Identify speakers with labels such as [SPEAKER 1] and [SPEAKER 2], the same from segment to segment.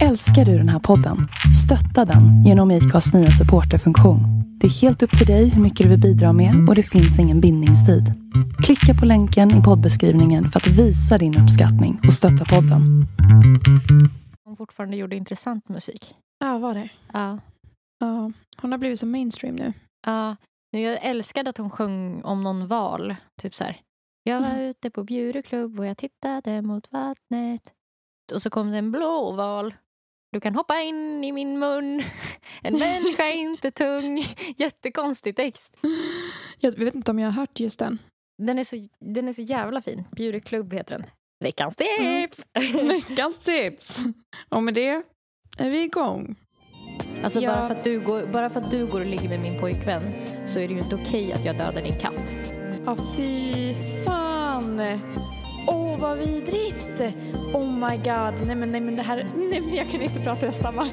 [SPEAKER 1] Älskar du den här podden? Stötta den genom IKAs nya supporterfunktion. Det är helt upp till dig hur mycket du vill bidra med och det finns ingen bindningstid. Klicka på länken i poddbeskrivningen för att visa din uppskattning och stötta podden.
[SPEAKER 2] Hon fortfarande gjorde intressant musik.
[SPEAKER 3] Ja, var det.
[SPEAKER 2] Ja.
[SPEAKER 3] Ja, hon har blivit så mainstream nu.
[SPEAKER 2] Ja. Men Jag älskade att hon sjöng om någon val. Typ så här. Jag var
[SPEAKER 3] Mm.
[SPEAKER 2] ute på Bjuröklubb och jag tittade mot vattnet. Och så kom det en blå val. Du kan hoppa in i min mun. En människa är inte tung. Jättekonstig text.
[SPEAKER 3] Jag vet inte om jag har hört just den.
[SPEAKER 2] Den är så, den är så jävla fin. Bjuröklubb heter den. Veckans
[SPEAKER 3] Mm.
[SPEAKER 2] tips!
[SPEAKER 3] Veckans tips! Och med det är vi igång.
[SPEAKER 2] Alltså
[SPEAKER 3] Ja.
[SPEAKER 2] bara, för att du går, bara för att du går och ligger med min pojkvän så är det ju inte okej att jag dödar din katt.
[SPEAKER 3] Ja, fy fan! Åh, vad vidrigt! Oh my god, nej men, nej men det här, nej men jag kan inte prata, jag stammar.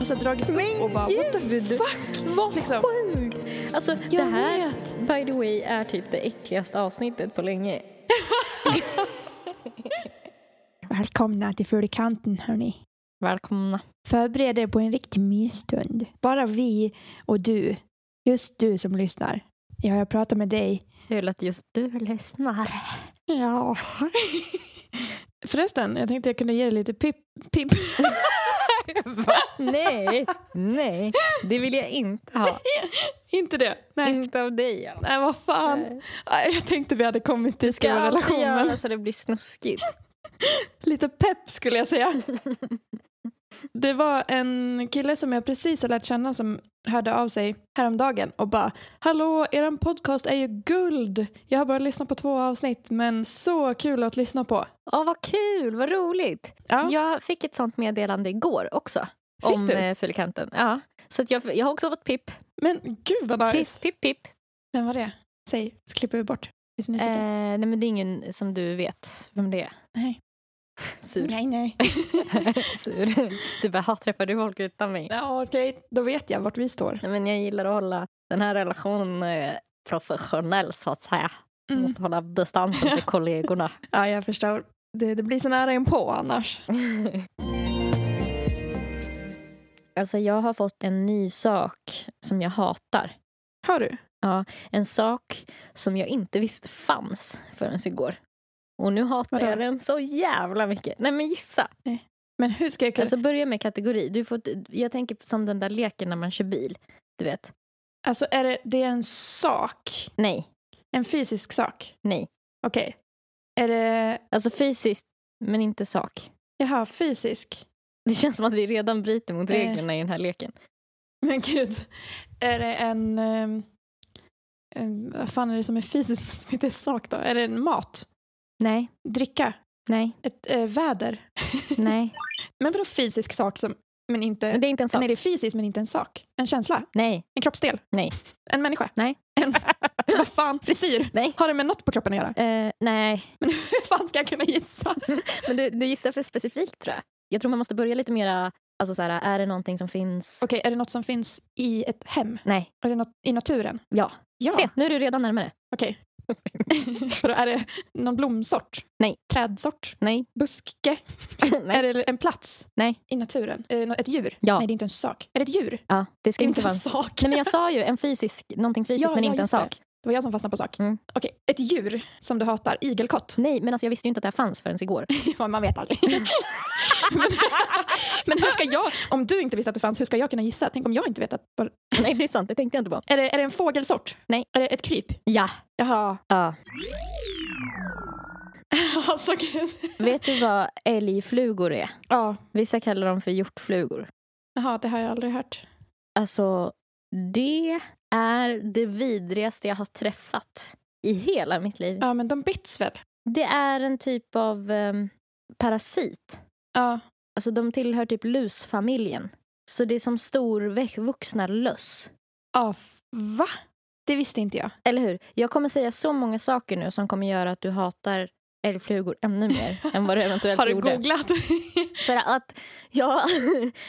[SPEAKER 3] Och så har jag dragit upp och bara what the fuck? Vad liksom?
[SPEAKER 2] Sjukt! Alltså
[SPEAKER 3] Jag
[SPEAKER 2] det här,
[SPEAKER 3] vet!
[SPEAKER 2] by the way, är typ det äckligaste avsnittet på länge.
[SPEAKER 3] Välkomna till Fulikanten hörni.
[SPEAKER 2] Välkomna.
[SPEAKER 3] Förbered er på en riktig mysstund. Bara vi och du. Just du som lyssnar. Ja, jag pratar med dig.
[SPEAKER 2] Kul att just du lyssnar.
[SPEAKER 3] Ja. Förresten, jag tänkte jag kunde ge dig lite pip... pip.
[SPEAKER 2] Va? Nej, nej. Det vill jag inte ha.
[SPEAKER 3] Inte det. Nej.
[SPEAKER 2] Inte av dig. Anna.
[SPEAKER 3] Nej, vad fan.
[SPEAKER 2] Nej.
[SPEAKER 3] Nej, Jag tänkte vi hade kommit till
[SPEAKER 2] Ska
[SPEAKER 3] skriva
[SPEAKER 2] alltid
[SPEAKER 3] relationen.
[SPEAKER 2] göra så det blir snuskigt.
[SPEAKER 3] Lite pepp skulle jag säga. Det var en kille som jag precis har lärt känna som hörde av sig häromdagen och bara Hallå, eran podcast är ju guld! Jag har bara lyssnat på två avsnitt men så kul att lyssna på.
[SPEAKER 2] Åh, vad kul, vad roligt.
[SPEAKER 3] Ja,
[SPEAKER 2] Jag fick ett sånt meddelande igår också.
[SPEAKER 3] fick
[SPEAKER 2] om
[SPEAKER 3] du?
[SPEAKER 2] eh, Fylkanten. Ja. Så att jag, jag har också fått pipp.
[SPEAKER 3] Men gud vad nice!
[SPEAKER 2] Pipp, pipp, pipp.
[SPEAKER 3] Vem var det? Säg, så klipper vi bort. Är så
[SPEAKER 2] Eh,
[SPEAKER 3] nyfiken?
[SPEAKER 2] nej, men det är ingen som du vet vem det är.
[SPEAKER 3] Nej.
[SPEAKER 2] Sur.
[SPEAKER 3] Nej, nej.
[SPEAKER 2] Sur. Du bara, "Ha, träffar du folk utan mig?
[SPEAKER 3] Ja, okej. Då vet jag vart vi står.
[SPEAKER 2] Nej, men jag gillar att hålla den här relationen eh, professionell så att säga.
[SPEAKER 3] Mm.
[SPEAKER 2] Måste hålla distansen till kollegorna.
[SPEAKER 3] Ja, jag förstår. Det, det blir så nära inpå annars.
[SPEAKER 2] Alltså jag har fått en ny sak som jag hatar.
[SPEAKER 3] Hör du?
[SPEAKER 2] En sak som jag inte visste fanns förrän igår. Och nu hatar
[SPEAKER 3] Vadå?
[SPEAKER 2] jag den så jävla mycket. Nej men gissa.
[SPEAKER 3] Men hur ska jag kunna...
[SPEAKER 2] Alltså börja med kategori. Du får, jag tänker på som den där leken när man kör bil. Du vet.
[SPEAKER 3] Alltså är det, det är en sak,
[SPEAKER 2] Nej,
[SPEAKER 3] en fysisk sak.
[SPEAKER 2] nej.
[SPEAKER 3] Okej. Är det,
[SPEAKER 2] Alltså fysiskt, men inte sak.
[SPEAKER 3] jaha, fysisk.
[SPEAKER 2] Det känns som att vi redan bryter mot
[SPEAKER 3] Eh.
[SPEAKER 2] reglerna i den här leken.
[SPEAKER 3] Men gud. Är det en, ehm, en, vad fan är det som är fysiskt men som inte är sak då? Är det en mat?
[SPEAKER 2] Nej,
[SPEAKER 3] Dricka?
[SPEAKER 2] nej,
[SPEAKER 3] Ett eh, väder?
[SPEAKER 2] nej.
[SPEAKER 3] Men vadå fysisk sak som, men inte,
[SPEAKER 2] Men det är inte en sak.
[SPEAKER 3] nej det är fysiskt men inte en sak. En känsla?
[SPEAKER 2] Nej,
[SPEAKER 3] En kroppsdel?
[SPEAKER 2] Nej.
[SPEAKER 3] En människa?
[SPEAKER 2] Nej.
[SPEAKER 3] En, vad fan, frisyr?
[SPEAKER 2] Nej.
[SPEAKER 3] Har det med något på kroppen att göra?
[SPEAKER 2] eh, nej.
[SPEAKER 3] Men hur fan ska jag kunna gissa?
[SPEAKER 2] Men du, du gissar för specifikt tror jag. Jag tror man måste börja lite mera, alltså så här, är det någonting som finns?
[SPEAKER 3] Okej, är det något som finns i ett hem?
[SPEAKER 2] Nej,
[SPEAKER 3] Är det något i naturen?
[SPEAKER 2] ja.
[SPEAKER 3] Ja.
[SPEAKER 2] Se, nu är du redan närmare.
[SPEAKER 3] Okej. Vadå, är det någon blomsort?
[SPEAKER 2] Nej.
[SPEAKER 3] Trädsort?
[SPEAKER 2] Nej,
[SPEAKER 3] Buske?
[SPEAKER 2] nej.
[SPEAKER 3] Är det en plats?
[SPEAKER 2] Nej.
[SPEAKER 3] I naturen? Eh, nå- Ett djur?
[SPEAKER 2] Ja.
[SPEAKER 3] Nej, det är inte en sak. Är det ett djur?
[SPEAKER 2] Ja, det
[SPEAKER 3] Det
[SPEAKER 2] ska
[SPEAKER 3] är
[SPEAKER 2] inte
[SPEAKER 3] inte
[SPEAKER 2] vara
[SPEAKER 3] en
[SPEAKER 2] en
[SPEAKER 3] sak.
[SPEAKER 2] Nej men jag sa ju en fysisk, någonting fysiskt
[SPEAKER 3] Ja,
[SPEAKER 2] men
[SPEAKER 3] ja,
[SPEAKER 2] inte en
[SPEAKER 3] just det.
[SPEAKER 2] sak.
[SPEAKER 3] Det var jag som fastnade på sak.
[SPEAKER 2] Mm.
[SPEAKER 3] Okej, ett djur som du hatar. Igelkott?
[SPEAKER 2] Nej, men alltså jag visste ju inte att det här fanns förrän igår.
[SPEAKER 3] Ja, Man vet aldrig. men, men hur ska jag, om du inte visste att det fanns, hur ska jag kunna gissa? Tänk om jag inte vet att... vad-
[SPEAKER 2] Nej, det är sant. Det tänkte jag inte på.
[SPEAKER 3] Är det, är det en fågelsort?
[SPEAKER 2] Nej.
[SPEAKER 3] Är det ett kryp?
[SPEAKER 2] Ja.
[SPEAKER 3] Jaha.
[SPEAKER 2] ja.
[SPEAKER 3] Alltså, gud.
[SPEAKER 2] Vet du vad älgflugor är?
[SPEAKER 3] Ja.
[SPEAKER 2] Vissa kallar dem för hjortflugor.
[SPEAKER 3] Jaha, det har jag aldrig hört.
[SPEAKER 2] Alltså, det är det vidrigaste jag har träffat i hela mitt liv.
[SPEAKER 3] Ja, men de bits väl?
[SPEAKER 2] Det är en typ av ehm, parasit.
[SPEAKER 3] Ja.
[SPEAKER 2] Alltså de tillhör typ lusfamiljen. Så det är som storvuxna löss.
[SPEAKER 3] Ja, f- va? Det visste inte jag.
[SPEAKER 2] Eller hur? Jag kommer säga så många saker nu som kommer göra att du hatar älgflugor ännu mer än vad du eventuellt
[SPEAKER 3] Har du
[SPEAKER 2] gjorde.
[SPEAKER 3] googlat?
[SPEAKER 2] För att jag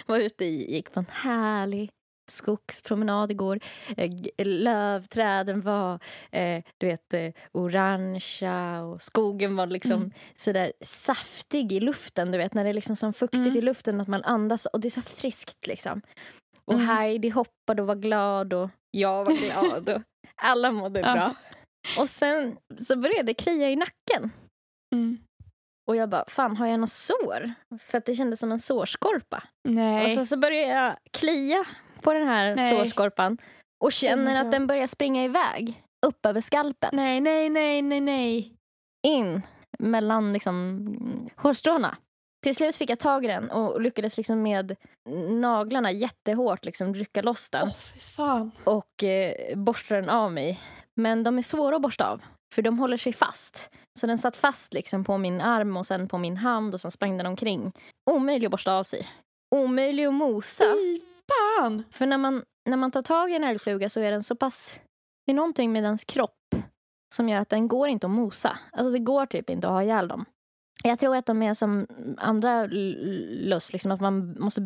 [SPEAKER 2] var ute och gick på en härlig skogspromenad igår. Eh, g- lövträden var eh, du vet, eh, orangea och skogen var liksom
[SPEAKER 3] Mm.
[SPEAKER 2] sådär saftig i luften. Du vet, när det är liksom som fuktigt
[SPEAKER 3] Mm.
[SPEAKER 2] i luften att man andas och det är så friskt. liksom. Och
[SPEAKER 3] Mm.
[SPEAKER 2] Heidi hoppade och var glad och jag var glad. Och alla mådde
[SPEAKER 3] Ja.
[SPEAKER 2] bra. Och sen så började det klia i nacken.
[SPEAKER 3] Mm.
[SPEAKER 2] Och jag bara, fan har jag något sår? För att det kändes som en sårskorpa.
[SPEAKER 3] Nej.
[SPEAKER 2] Och sen så börjar jag klia på den här
[SPEAKER 3] Nej. Oh
[SPEAKER 2] sårskorpan och känner
[SPEAKER 3] Undrar.
[SPEAKER 2] att den börjar springa iväg upp över skalpen.
[SPEAKER 3] nej, nej, nej, nej, nej.
[SPEAKER 2] In mellan liksom, mm, hårstråna. Till slut fick jag tag i den och lyckades liksom med naglarna jättehårt liksom rycka loss den
[SPEAKER 3] Åh, fy fan.
[SPEAKER 2] och eh, borsta den av mig. Men de är svåra att borsta av, för de håller sig fast. Så den satt fast liksom på min arm och sen på min hand och sen sprang den omkring. Omöjlig att borsta av sig. Omöjlig att mosa.
[SPEAKER 3] Fy fan.
[SPEAKER 2] För när man, när man tar tag i en älgfluga så är den så pass... Det är någonting med dens kropp som gör att den går inte att mosa. Alltså det går typ inte att ha ihjäl dem. Jag tror att de är som andra l- löss, liksom att man måste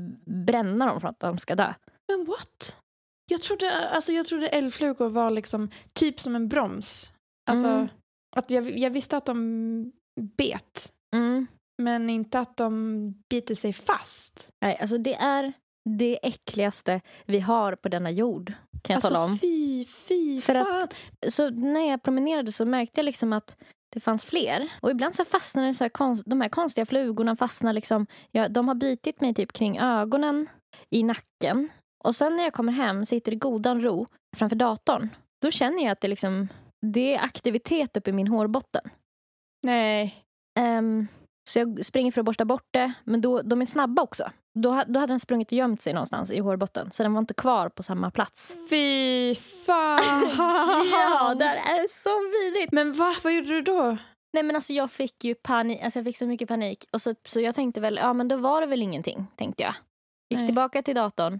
[SPEAKER 2] bränna dem för att de ska dö.
[SPEAKER 3] Men what? Jag trodde, alltså, jag trodde älgflugor var liksom typ som en broms. Alltså,
[SPEAKER 2] Mm.
[SPEAKER 3] att jag, jag visste att de bet,
[SPEAKER 2] Mm.
[SPEAKER 3] men inte att de biter sig fast.
[SPEAKER 2] Nej, alltså det är det äckligaste vi har på denna jord. Kan
[SPEAKER 3] Alltså,
[SPEAKER 2] jag tala om.
[SPEAKER 3] fy, fy
[SPEAKER 2] För
[SPEAKER 3] fan.
[SPEAKER 2] att- Så när jag promenerade så märkte jag liksom att det fanns fler. Och ibland så fastnade det så här konst, de här konstiga flugorna fastnar liksom. Ja, de har bitit mig typ kring ögonen, i nacken. Och sen när jag kommer hem, sitter i godan ro framför datorn. Då känner jag att det liksom, det är aktivitet uppe i min hårbotten.
[SPEAKER 3] Nej.
[SPEAKER 2] Ehm, så jag springer för att borsta bort det, men då, de är snabba också. Då, ha- då hade den sprungit och gömt sig någonstans i hårbotten, så den var inte kvar på samma plats.
[SPEAKER 3] Fy fan.
[SPEAKER 2] Ja, det här är så vidrigt!
[SPEAKER 3] Men va? Vad gjorde du då?
[SPEAKER 2] Nej men alltså jag fick ju panik, alltså jag fick så mycket panik. Och så, så jag tänkte väl, ja men då var det väl ingenting, tänkte jag. Gick
[SPEAKER 3] Nej.
[SPEAKER 2] tillbaka till datorn,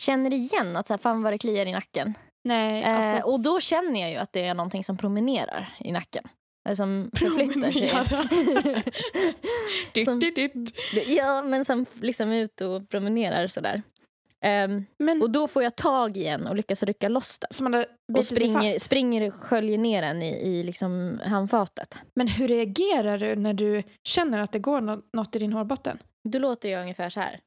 [SPEAKER 2] känner igen att så här, fan vad det kliar i nacken.
[SPEAKER 3] Nej, alltså-
[SPEAKER 2] eh, och då känner jag ju att det är någonting som promenerar i nacken. Eller som förflyttar
[SPEAKER 3] Promenerar.
[SPEAKER 2] sig.
[SPEAKER 3] Ditt,
[SPEAKER 2] som-
[SPEAKER 3] ditt, ditt.
[SPEAKER 2] Ja, men som liksom är ute och promenerar sådär. Ehm,
[SPEAKER 3] Men
[SPEAKER 2] och då får jag tag i en och lyckas rycka loss den.
[SPEAKER 3] som hade
[SPEAKER 2] Och
[SPEAKER 3] bitit sig
[SPEAKER 2] springer,
[SPEAKER 3] fast.
[SPEAKER 2] springer och sköljer ner den i, i liksom handfatet.
[SPEAKER 3] Men hur reagerar du när du känner att det går nå- något i din hårbotten?
[SPEAKER 2] Då låter jag ungefär så här.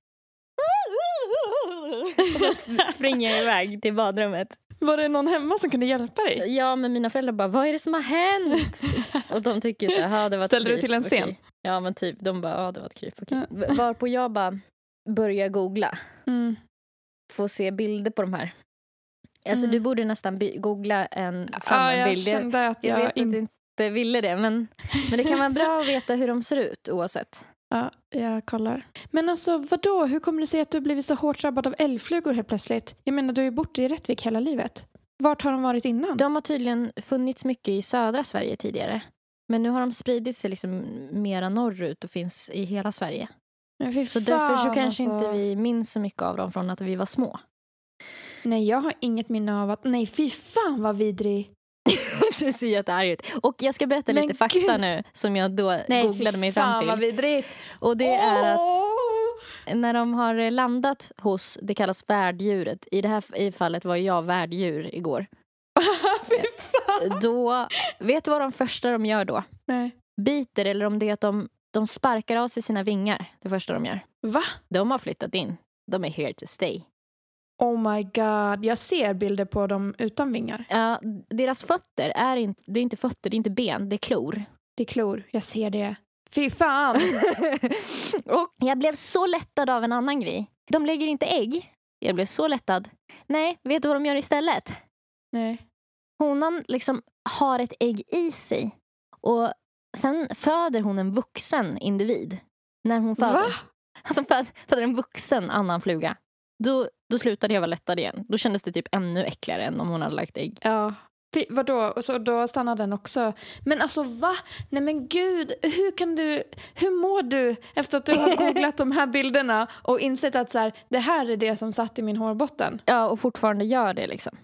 [SPEAKER 2] Och så sp- springer jag iväg till badrummet.
[SPEAKER 3] Var det någon hemma som kunde hjälpa dig?
[SPEAKER 2] Ja, men mina föräldrar bara, vad är det som har hänt? Och de tycker så här, "Ja, det var ett
[SPEAKER 3] Ställde du
[SPEAKER 2] kryp,
[SPEAKER 3] till en scen?
[SPEAKER 2] okej." Ja, men typ. De bara, ja det var ett kryp, okej. V- Varpå jag bara börjar googla.
[SPEAKER 3] Mm.
[SPEAKER 2] få se bilder på de här. Alltså
[SPEAKER 3] Mm.
[SPEAKER 2] du borde nästan by- googla en, fram
[SPEAKER 3] Ja,
[SPEAKER 2] en
[SPEAKER 3] jag
[SPEAKER 2] bild. Jag,
[SPEAKER 3] kände att
[SPEAKER 2] jag
[SPEAKER 3] jag,
[SPEAKER 2] vet att
[SPEAKER 3] inte...
[SPEAKER 2] du inte ville det men, men det kan vara bra att veta hur de ser ut oavsett.
[SPEAKER 3] Ja, jag kollar. Men alltså vadå, hur kommer det sig att du har blivit så hårt drabbad av älgflugor helt plötsligt? Jag menar, du har ju bott i Rättvik hela livet. Vart har de varit innan?
[SPEAKER 2] De har tydligen funnits mycket i södra Sverige tidigare. Men nu har de spridit sig liksom mera norrut och finns i hela Sverige.
[SPEAKER 3] Men fy
[SPEAKER 2] Så därför så
[SPEAKER 3] fan,
[SPEAKER 2] kanske
[SPEAKER 3] alltså.
[SPEAKER 2] inte vi minns så mycket av dem från att vi var små.
[SPEAKER 3] Nej, jag har inget minne av att... Nej, fy fan vad vidrig.
[SPEAKER 2] du ser jättearg ut. Och jag ska berätta
[SPEAKER 3] Men
[SPEAKER 2] lite fakta
[SPEAKER 3] gud.
[SPEAKER 2] nu som jag då
[SPEAKER 3] Nej,
[SPEAKER 2] googlade
[SPEAKER 3] fy
[SPEAKER 2] mig fram
[SPEAKER 3] fan vad
[SPEAKER 2] till.
[SPEAKER 3] vidrigt.
[SPEAKER 2] Och det är att
[SPEAKER 3] Åh!
[SPEAKER 2] När de har eh, landat hos, det kallas värddjuret, i det här f- i fallet var jag värddjur igår.
[SPEAKER 3] fy fan.
[SPEAKER 2] Då, vet du vad de första de gör då?
[SPEAKER 3] Nej.
[SPEAKER 2] Biter eller om det är att de, de sparkar av sig sina vingar, det första de gör.
[SPEAKER 3] Va?
[SPEAKER 2] De har flyttat in. De är here to stay.
[SPEAKER 3] Oh my god, jag ser bilder på dem utan vingar.
[SPEAKER 2] Ja, deras fötter är inte, det är inte fötter, det är inte ben, det är klor.
[SPEAKER 3] Det är klor, jag ser det. Fy fan!
[SPEAKER 2] Och jag blev så lättad av en annan grej. De lägger inte ägg. Jag blev så lättad. Nej, vet du vad de gör istället?
[SPEAKER 3] Nej.
[SPEAKER 2] honan liksom har ett ägg i sig och sen föder hon en vuxen individ. När hon föder.
[SPEAKER 3] Va?
[SPEAKER 2] Alltså föder, föder en vuxen annan fluga. Då, då slutade jag vara lättad igen. Då kändes det typ ännu äckligare än om hon hade lagt ägg.
[SPEAKER 3] Ja. Fy, vadå? Och så då stannar den också. Men alltså va? Nej men gud, hur kan du, hur mår du efter att du har googlat de här bilderna och insett att så här, det här är det som satt i min hårbotten?
[SPEAKER 2] Ja, och fortfarande gör det liksom.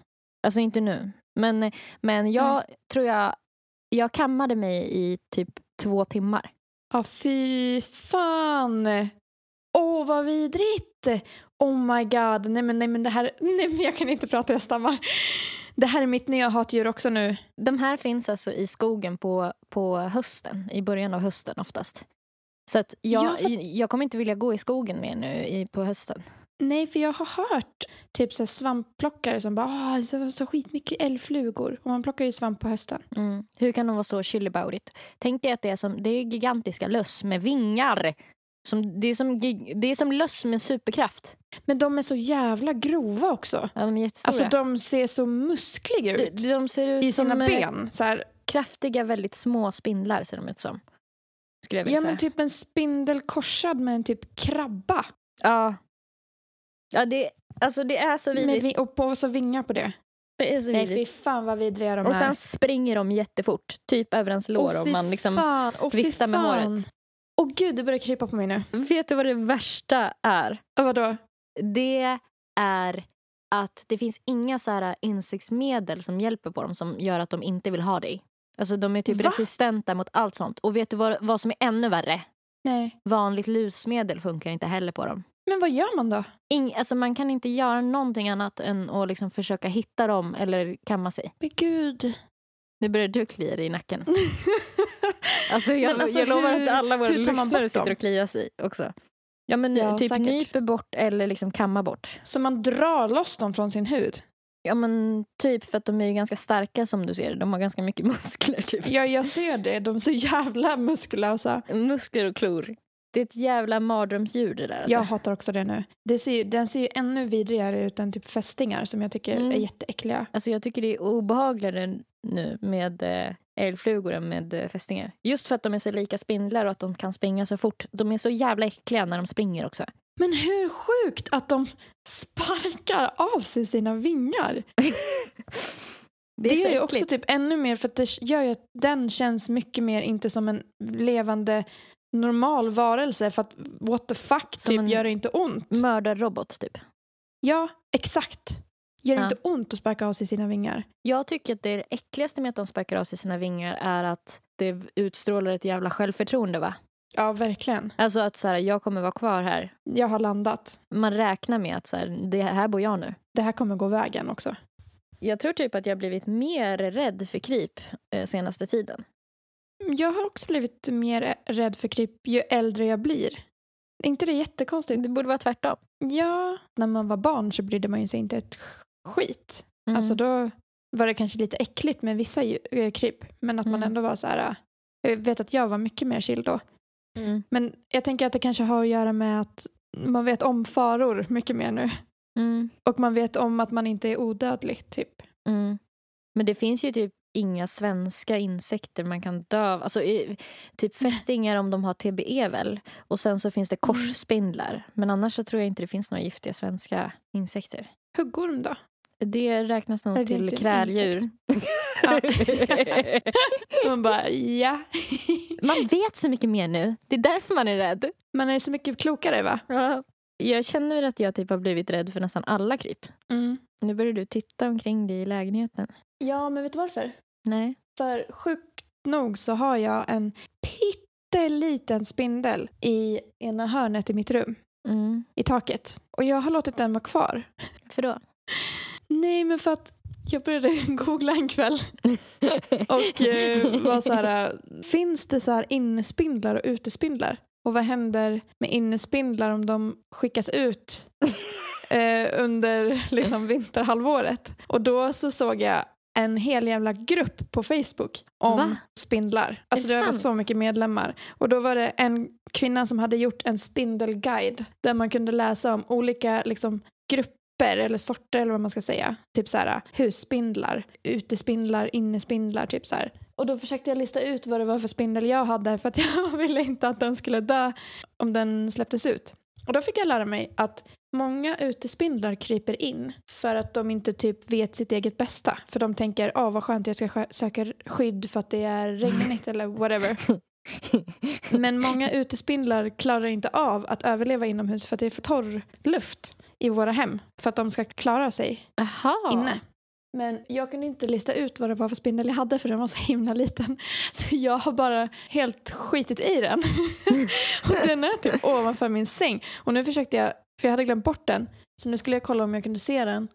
[SPEAKER 2] Alltså inte nu. Men, men jag
[SPEAKER 3] Mm.
[SPEAKER 2] tror jag, jag kammade mig i typ två timmar.
[SPEAKER 3] Ja, fy fan! Åh, vad vidrigt! jätte... Oh my god, nej men, nej men det här... Nej men jag kan inte prata, jag stammar. Det här är mitt nya hatdjur också nu.
[SPEAKER 2] De här finns alltså i skogen på, på hösten, i början av hösten oftast. Så att jag,
[SPEAKER 3] Ja, för-
[SPEAKER 2] jag kommer inte vilja gå i skogen mer nu i, på hösten.
[SPEAKER 3] Nej, för jag har hört typ så här svampplockare som bara ah, det var så skitmycket älgflugor. Och man plockar ju svamp på hösten.
[SPEAKER 2] Mm. Hur kan de vara så chill about it? Tänk dig att det är som det är gigantiska löss med vingar. Som, det, är som, gig- det är som löss med superkraft.
[SPEAKER 3] Men de är så jävla grova också.
[SPEAKER 2] Ja, de är jättestora.
[SPEAKER 3] Alltså de ser så muskliga
[SPEAKER 2] de,
[SPEAKER 3] ut.
[SPEAKER 2] de ser ut
[SPEAKER 3] I
[SPEAKER 2] som
[SPEAKER 3] sina
[SPEAKER 2] eh,
[SPEAKER 3] ben. Så här.
[SPEAKER 2] kraftiga, väldigt små spindlar ser de ut som. Skulle jag vilja
[SPEAKER 3] Ja
[SPEAKER 2] säga.
[SPEAKER 3] men typ en spindel korsad med en typ krabba.
[SPEAKER 2] ja. ja det, alltså det är så
[SPEAKER 3] Med,
[SPEAKER 2] vidrigt.
[SPEAKER 3] vi- och på, så vingar på det.
[SPEAKER 2] Det är så
[SPEAKER 3] Nej
[SPEAKER 2] vidrigt.
[SPEAKER 3] fy fan vad vidriga de
[SPEAKER 2] Och
[SPEAKER 3] är.
[SPEAKER 2] sen springer de jättefort, typ över ens lår
[SPEAKER 3] Åh,
[SPEAKER 2] om
[SPEAKER 3] fy
[SPEAKER 2] man liksom...
[SPEAKER 3] fan, åh, fy
[SPEAKER 2] viftar med
[SPEAKER 3] fan.
[SPEAKER 2] håret.
[SPEAKER 3] Åh gud, det börjar krypa på mig nu.
[SPEAKER 2] Vet du vad det värsta är?
[SPEAKER 3] Och vadå?
[SPEAKER 2] Det är att det finns inga så här insektsmedel som hjälper på dem som gör att de inte vill ha dig. Alltså de är typ
[SPEAKER 3] Va?
[SPEAKER 2] resistenta mot allt sånt. Och vet du vad, vad som är ännu värre?
[SPEAKER 3] Nej.
[SPEAKER 2] Vanligt lusmedel funkar inte heller på dem.
[SPEAKER 3] Men vad gör man då?
[SPEAKER 2] Ing, alltså man kan inte göra någonting annat än att liksom försöka hitta dem eller kamma sig.
[SPEAKER 3] Men gud.
[SPEAKER 2] Nu börjar du klia dig i nacken. Alltså jag,
[SPEAKER 3] Men alltså,
[SPEAKER 2] jag lovar
[SPEAKER 3] hur-
[SPEAKER 2] att alla våra
[SPEAKER 3] hur tar man
[SPEAKER 2] lyssnare
[SPEAKER 3] bort
[SPEAKER 2] sitter
[SPEAKER 3] dem?
[SPEAKER 2] och kliar sig också. Ja men
[SPEAKER 3] Ja,
[SPEAKER 2] typ
[SPEAKER 3] säkert.
[SPEAKER 2] nyper bort eller liksom kamma bort.
[SPEAKER 3] Så man drar loss dem från sin hud?
[SPEAKER 2] Ja men typ för att de är ju ganska starka som du ser. De har ganska mycket muskler typ.
[SPEAKER 3] Ja, jag ser det. De är så jävla muskulösa.
[SPEAKER 2] Alltså. Muskler och klor. Det är ett jävla mardrömsdjur det där. Alltså.
[SPEAKER 3] Jag hatar också det nu. Det ser ju, den ser ju ännu vidrigare ut än typ fästingar som jag tycker
[SPEAKER 2] Mm.
[SPEAKER 3] är jätteäckliga.
[SPEAKER 2] alltså jag tycker det är obehagligare nu med eh, älgflugor än med eh, fästingar. Just för att de är så lika spindlar och att de kan springa så fort. De är så jävla äckliga när de springer också.
[SPEAKER 3] Men hur sjukt att de sparkar av sig sina vingar. Det,
[SPEAKER 2] så
[SPEAKER 3] gör ju också
[SPEAKER 2] äckligt.
[SPEAKER 3] typ ännu mer för att det gör ju att den känns mycket mer inte som en levande normal varelse för att what the fuck
[SPEAKER 2] Som
[SPEAKER 3] typ
[SPEAKER 2] en-
[SPEAKER 3] gör det inte ont.
[SPEAKER 2] Mördarrobot typ.
[SPEAKER 3] Ja, exakt. Gör det
[SPEAKER 2] Ja.
[SPEAKER 3] inte ont att sparka av sig sina vingar?
[SPEAKER 2] Jag tycker att det äckligaste med att de sparkar av sig sina vingar är att det utstrålar ett jävla självförtroende va?
[SPEAKER 3] Ja, verkligen.
[SPEAKER 2] Alltså att så här, jag kommer vara kvar här.
[SPEAKER 3] Jag har landat.
[SPEAKER 2] Man räknar med att så här, det här bor jag nu.
[SPEAKER 3] Det här kommer gå vägen också.
[SPEAKER 2] Jag tror typ att jag blivit mer rädd för kryp eh, senaste tiden.
[SPEAKER 3] Jag har också blivit mer rädd för kryp ju äldre jag blir. Är inte det jättekonstigt?
[SPEAKER 2] Det borde vara tvärtom.
[SPEAKER 3] Ja, när man var barn så brydde man ju sig inte ett skit.
[SPEAKER 2] Mm.
[SPEAKER 3] Alltså då var det kanske lite äckligt med vissa ju- eh, kryp, men att man
[SPEAKER 2] Mm.
[SPEAKER 3] ändå var så här... eh, Jag vet att jag var mycket mer chill då.
[SPEAKER 2] mm.
[SPEAKER 3] Men jag tänker att det kanske har att göra med att man vet om faror mycket mer nu.
[SPEAKER 2] Mm.
[SPEAKER 3] Och man vet om att man inte är odödlig, typ.
[SPEAKER 2] Mm. Men det finns ju typ inga svenska insekter man kan dö av. Alltså, i- typ fästingar om de har TBE väl. Och sen så finns det
[SPEAKER 3] Mm.
[SPEAKER 2] korsspindlar. Men annars så tror jag inte det finns några giftiga svenska insekter.
[SPEAKER 3] Huggorm då?
[SPEAKER 2] Det räknas nog
[SPEAKER 3] Är det
[SPEAKER 2] till
[SPEAKER 3] inte en
[SPEAKER 2] kräldjur.
[SPEAKER 3] Ja. man bara, ja.
[SPEAKER 2] man vet så mycket mer nu. Det är därför man är rädd.
[SPEAKER 3] Man är så mycket klokare, va?
[SPEAKER 2] Jag känner att jag typ har blivit rädd för nästan alla kryp.
[SPEAKER 3] Mm.
[SPEAKER 2] Nu börjar du titta omkring dig i lägenheten.
[SPEAKER 3] Ja, men vet du varför?
[SPEAKER 2] Nej.
[SPEAKER 3] För sjukt nog så har jag en pytteliten spindel i ena hörnet i mitt rum,
[SPEAKER 2] Mm.
[SPEAKER 3] i taket. Och jag har låtit den vara kvar.
[SPEAKER 2] För då?
[SPEAKER 3] Nej, men för att jag började googla en kväll och eh, var så här, eh, finns det så här innespindlar och utespindlar? Och vad händer med innespindlar om de skickas ut eh, under liksom, vinterhalvåret? Och då så såg jag en hel jävla grupp på Facebook om
[SPEAKER 2] Va?
[SPEAKER 3] spindlar. Alltså
[SPEAKER 2] Är det
[SPEAKER 3] det var
[SPEAKER 2] sant?
[SPEAKER 3] så mycket medlemmar. Och då var det en kvinna som hade gjort en spindelguide där man kunde läsa om olika liksom, grupper eller sorter eller vad man ska säga. Typ så här husspindlar, utespindlar, innespindlar, typ så här. Och då försökte jag lista ut vad det var för spindel jag hade för att jag ville inte att den skulle dö om den släpptes ut. Och då fick jag lära mig att många utespindlar kryper in för att de inte typ vet sitt eget bästa. För de tänker, ah vad skönt jag ska skö- söka skydd för att det är regnigt eller whatever. Men många utespindlar klarar inte av att överleva inomhus för att det är för torr luft i våra hem för att de ska klara sig
[SPEAKER 2] Jaha.
[SPEAKER 3] inne. Men jag kunde inte lista ut vad det var för spindel jag hade för den var så himla liten. Så jag har bara helt skitit i den. och den är typ ovanför min säng. Och nu försökte jag, för jag hade glömt bort den, så nu skulle jag kolla om jag kunde se den.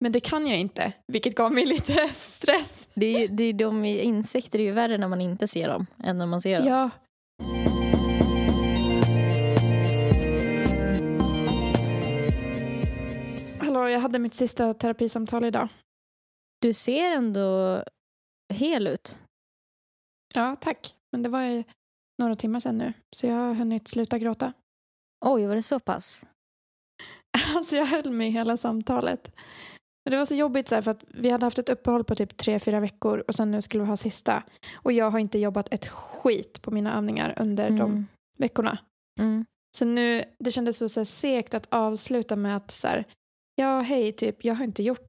[SPEAKER 3] Men det kan jag inte, vilket gav mig lite stress.
[SPEAKER 2] Det är, ju- det är de i insekter är ju värre när man inte ser dem än när man ser dem.
[SPEAKER 3] Ja. Hallå, jag hade mitt sista terapisamtal idag.
[SPEAKER 2] Du ser ändå hel ut.
[SPEAKER 3] Ja, tack. Men det var ju några timmar sedan nu, så jag har hunnit sluta gråta.
[SPEAKER 2] Oj, var det så pass?
[SPEAKER 3] Alltså jag höll mig hela samtalet. Men Det var så jobbigt så här, för att vi hade haft ett uppehåll på typ tre, fyra veckor och sen nu skulle vi ha sista. Och jag har inte jobbat ett skit på mina övningar under de
[SPEAKER 2] Mm.
[SPEAKER 3] veckorna.
[SPEAKER 2] Mm.
[SPEAKER 3] Så nu, det kändes så, så här, segt att avsluta med att så här, ja hej, typ jag har inte gjort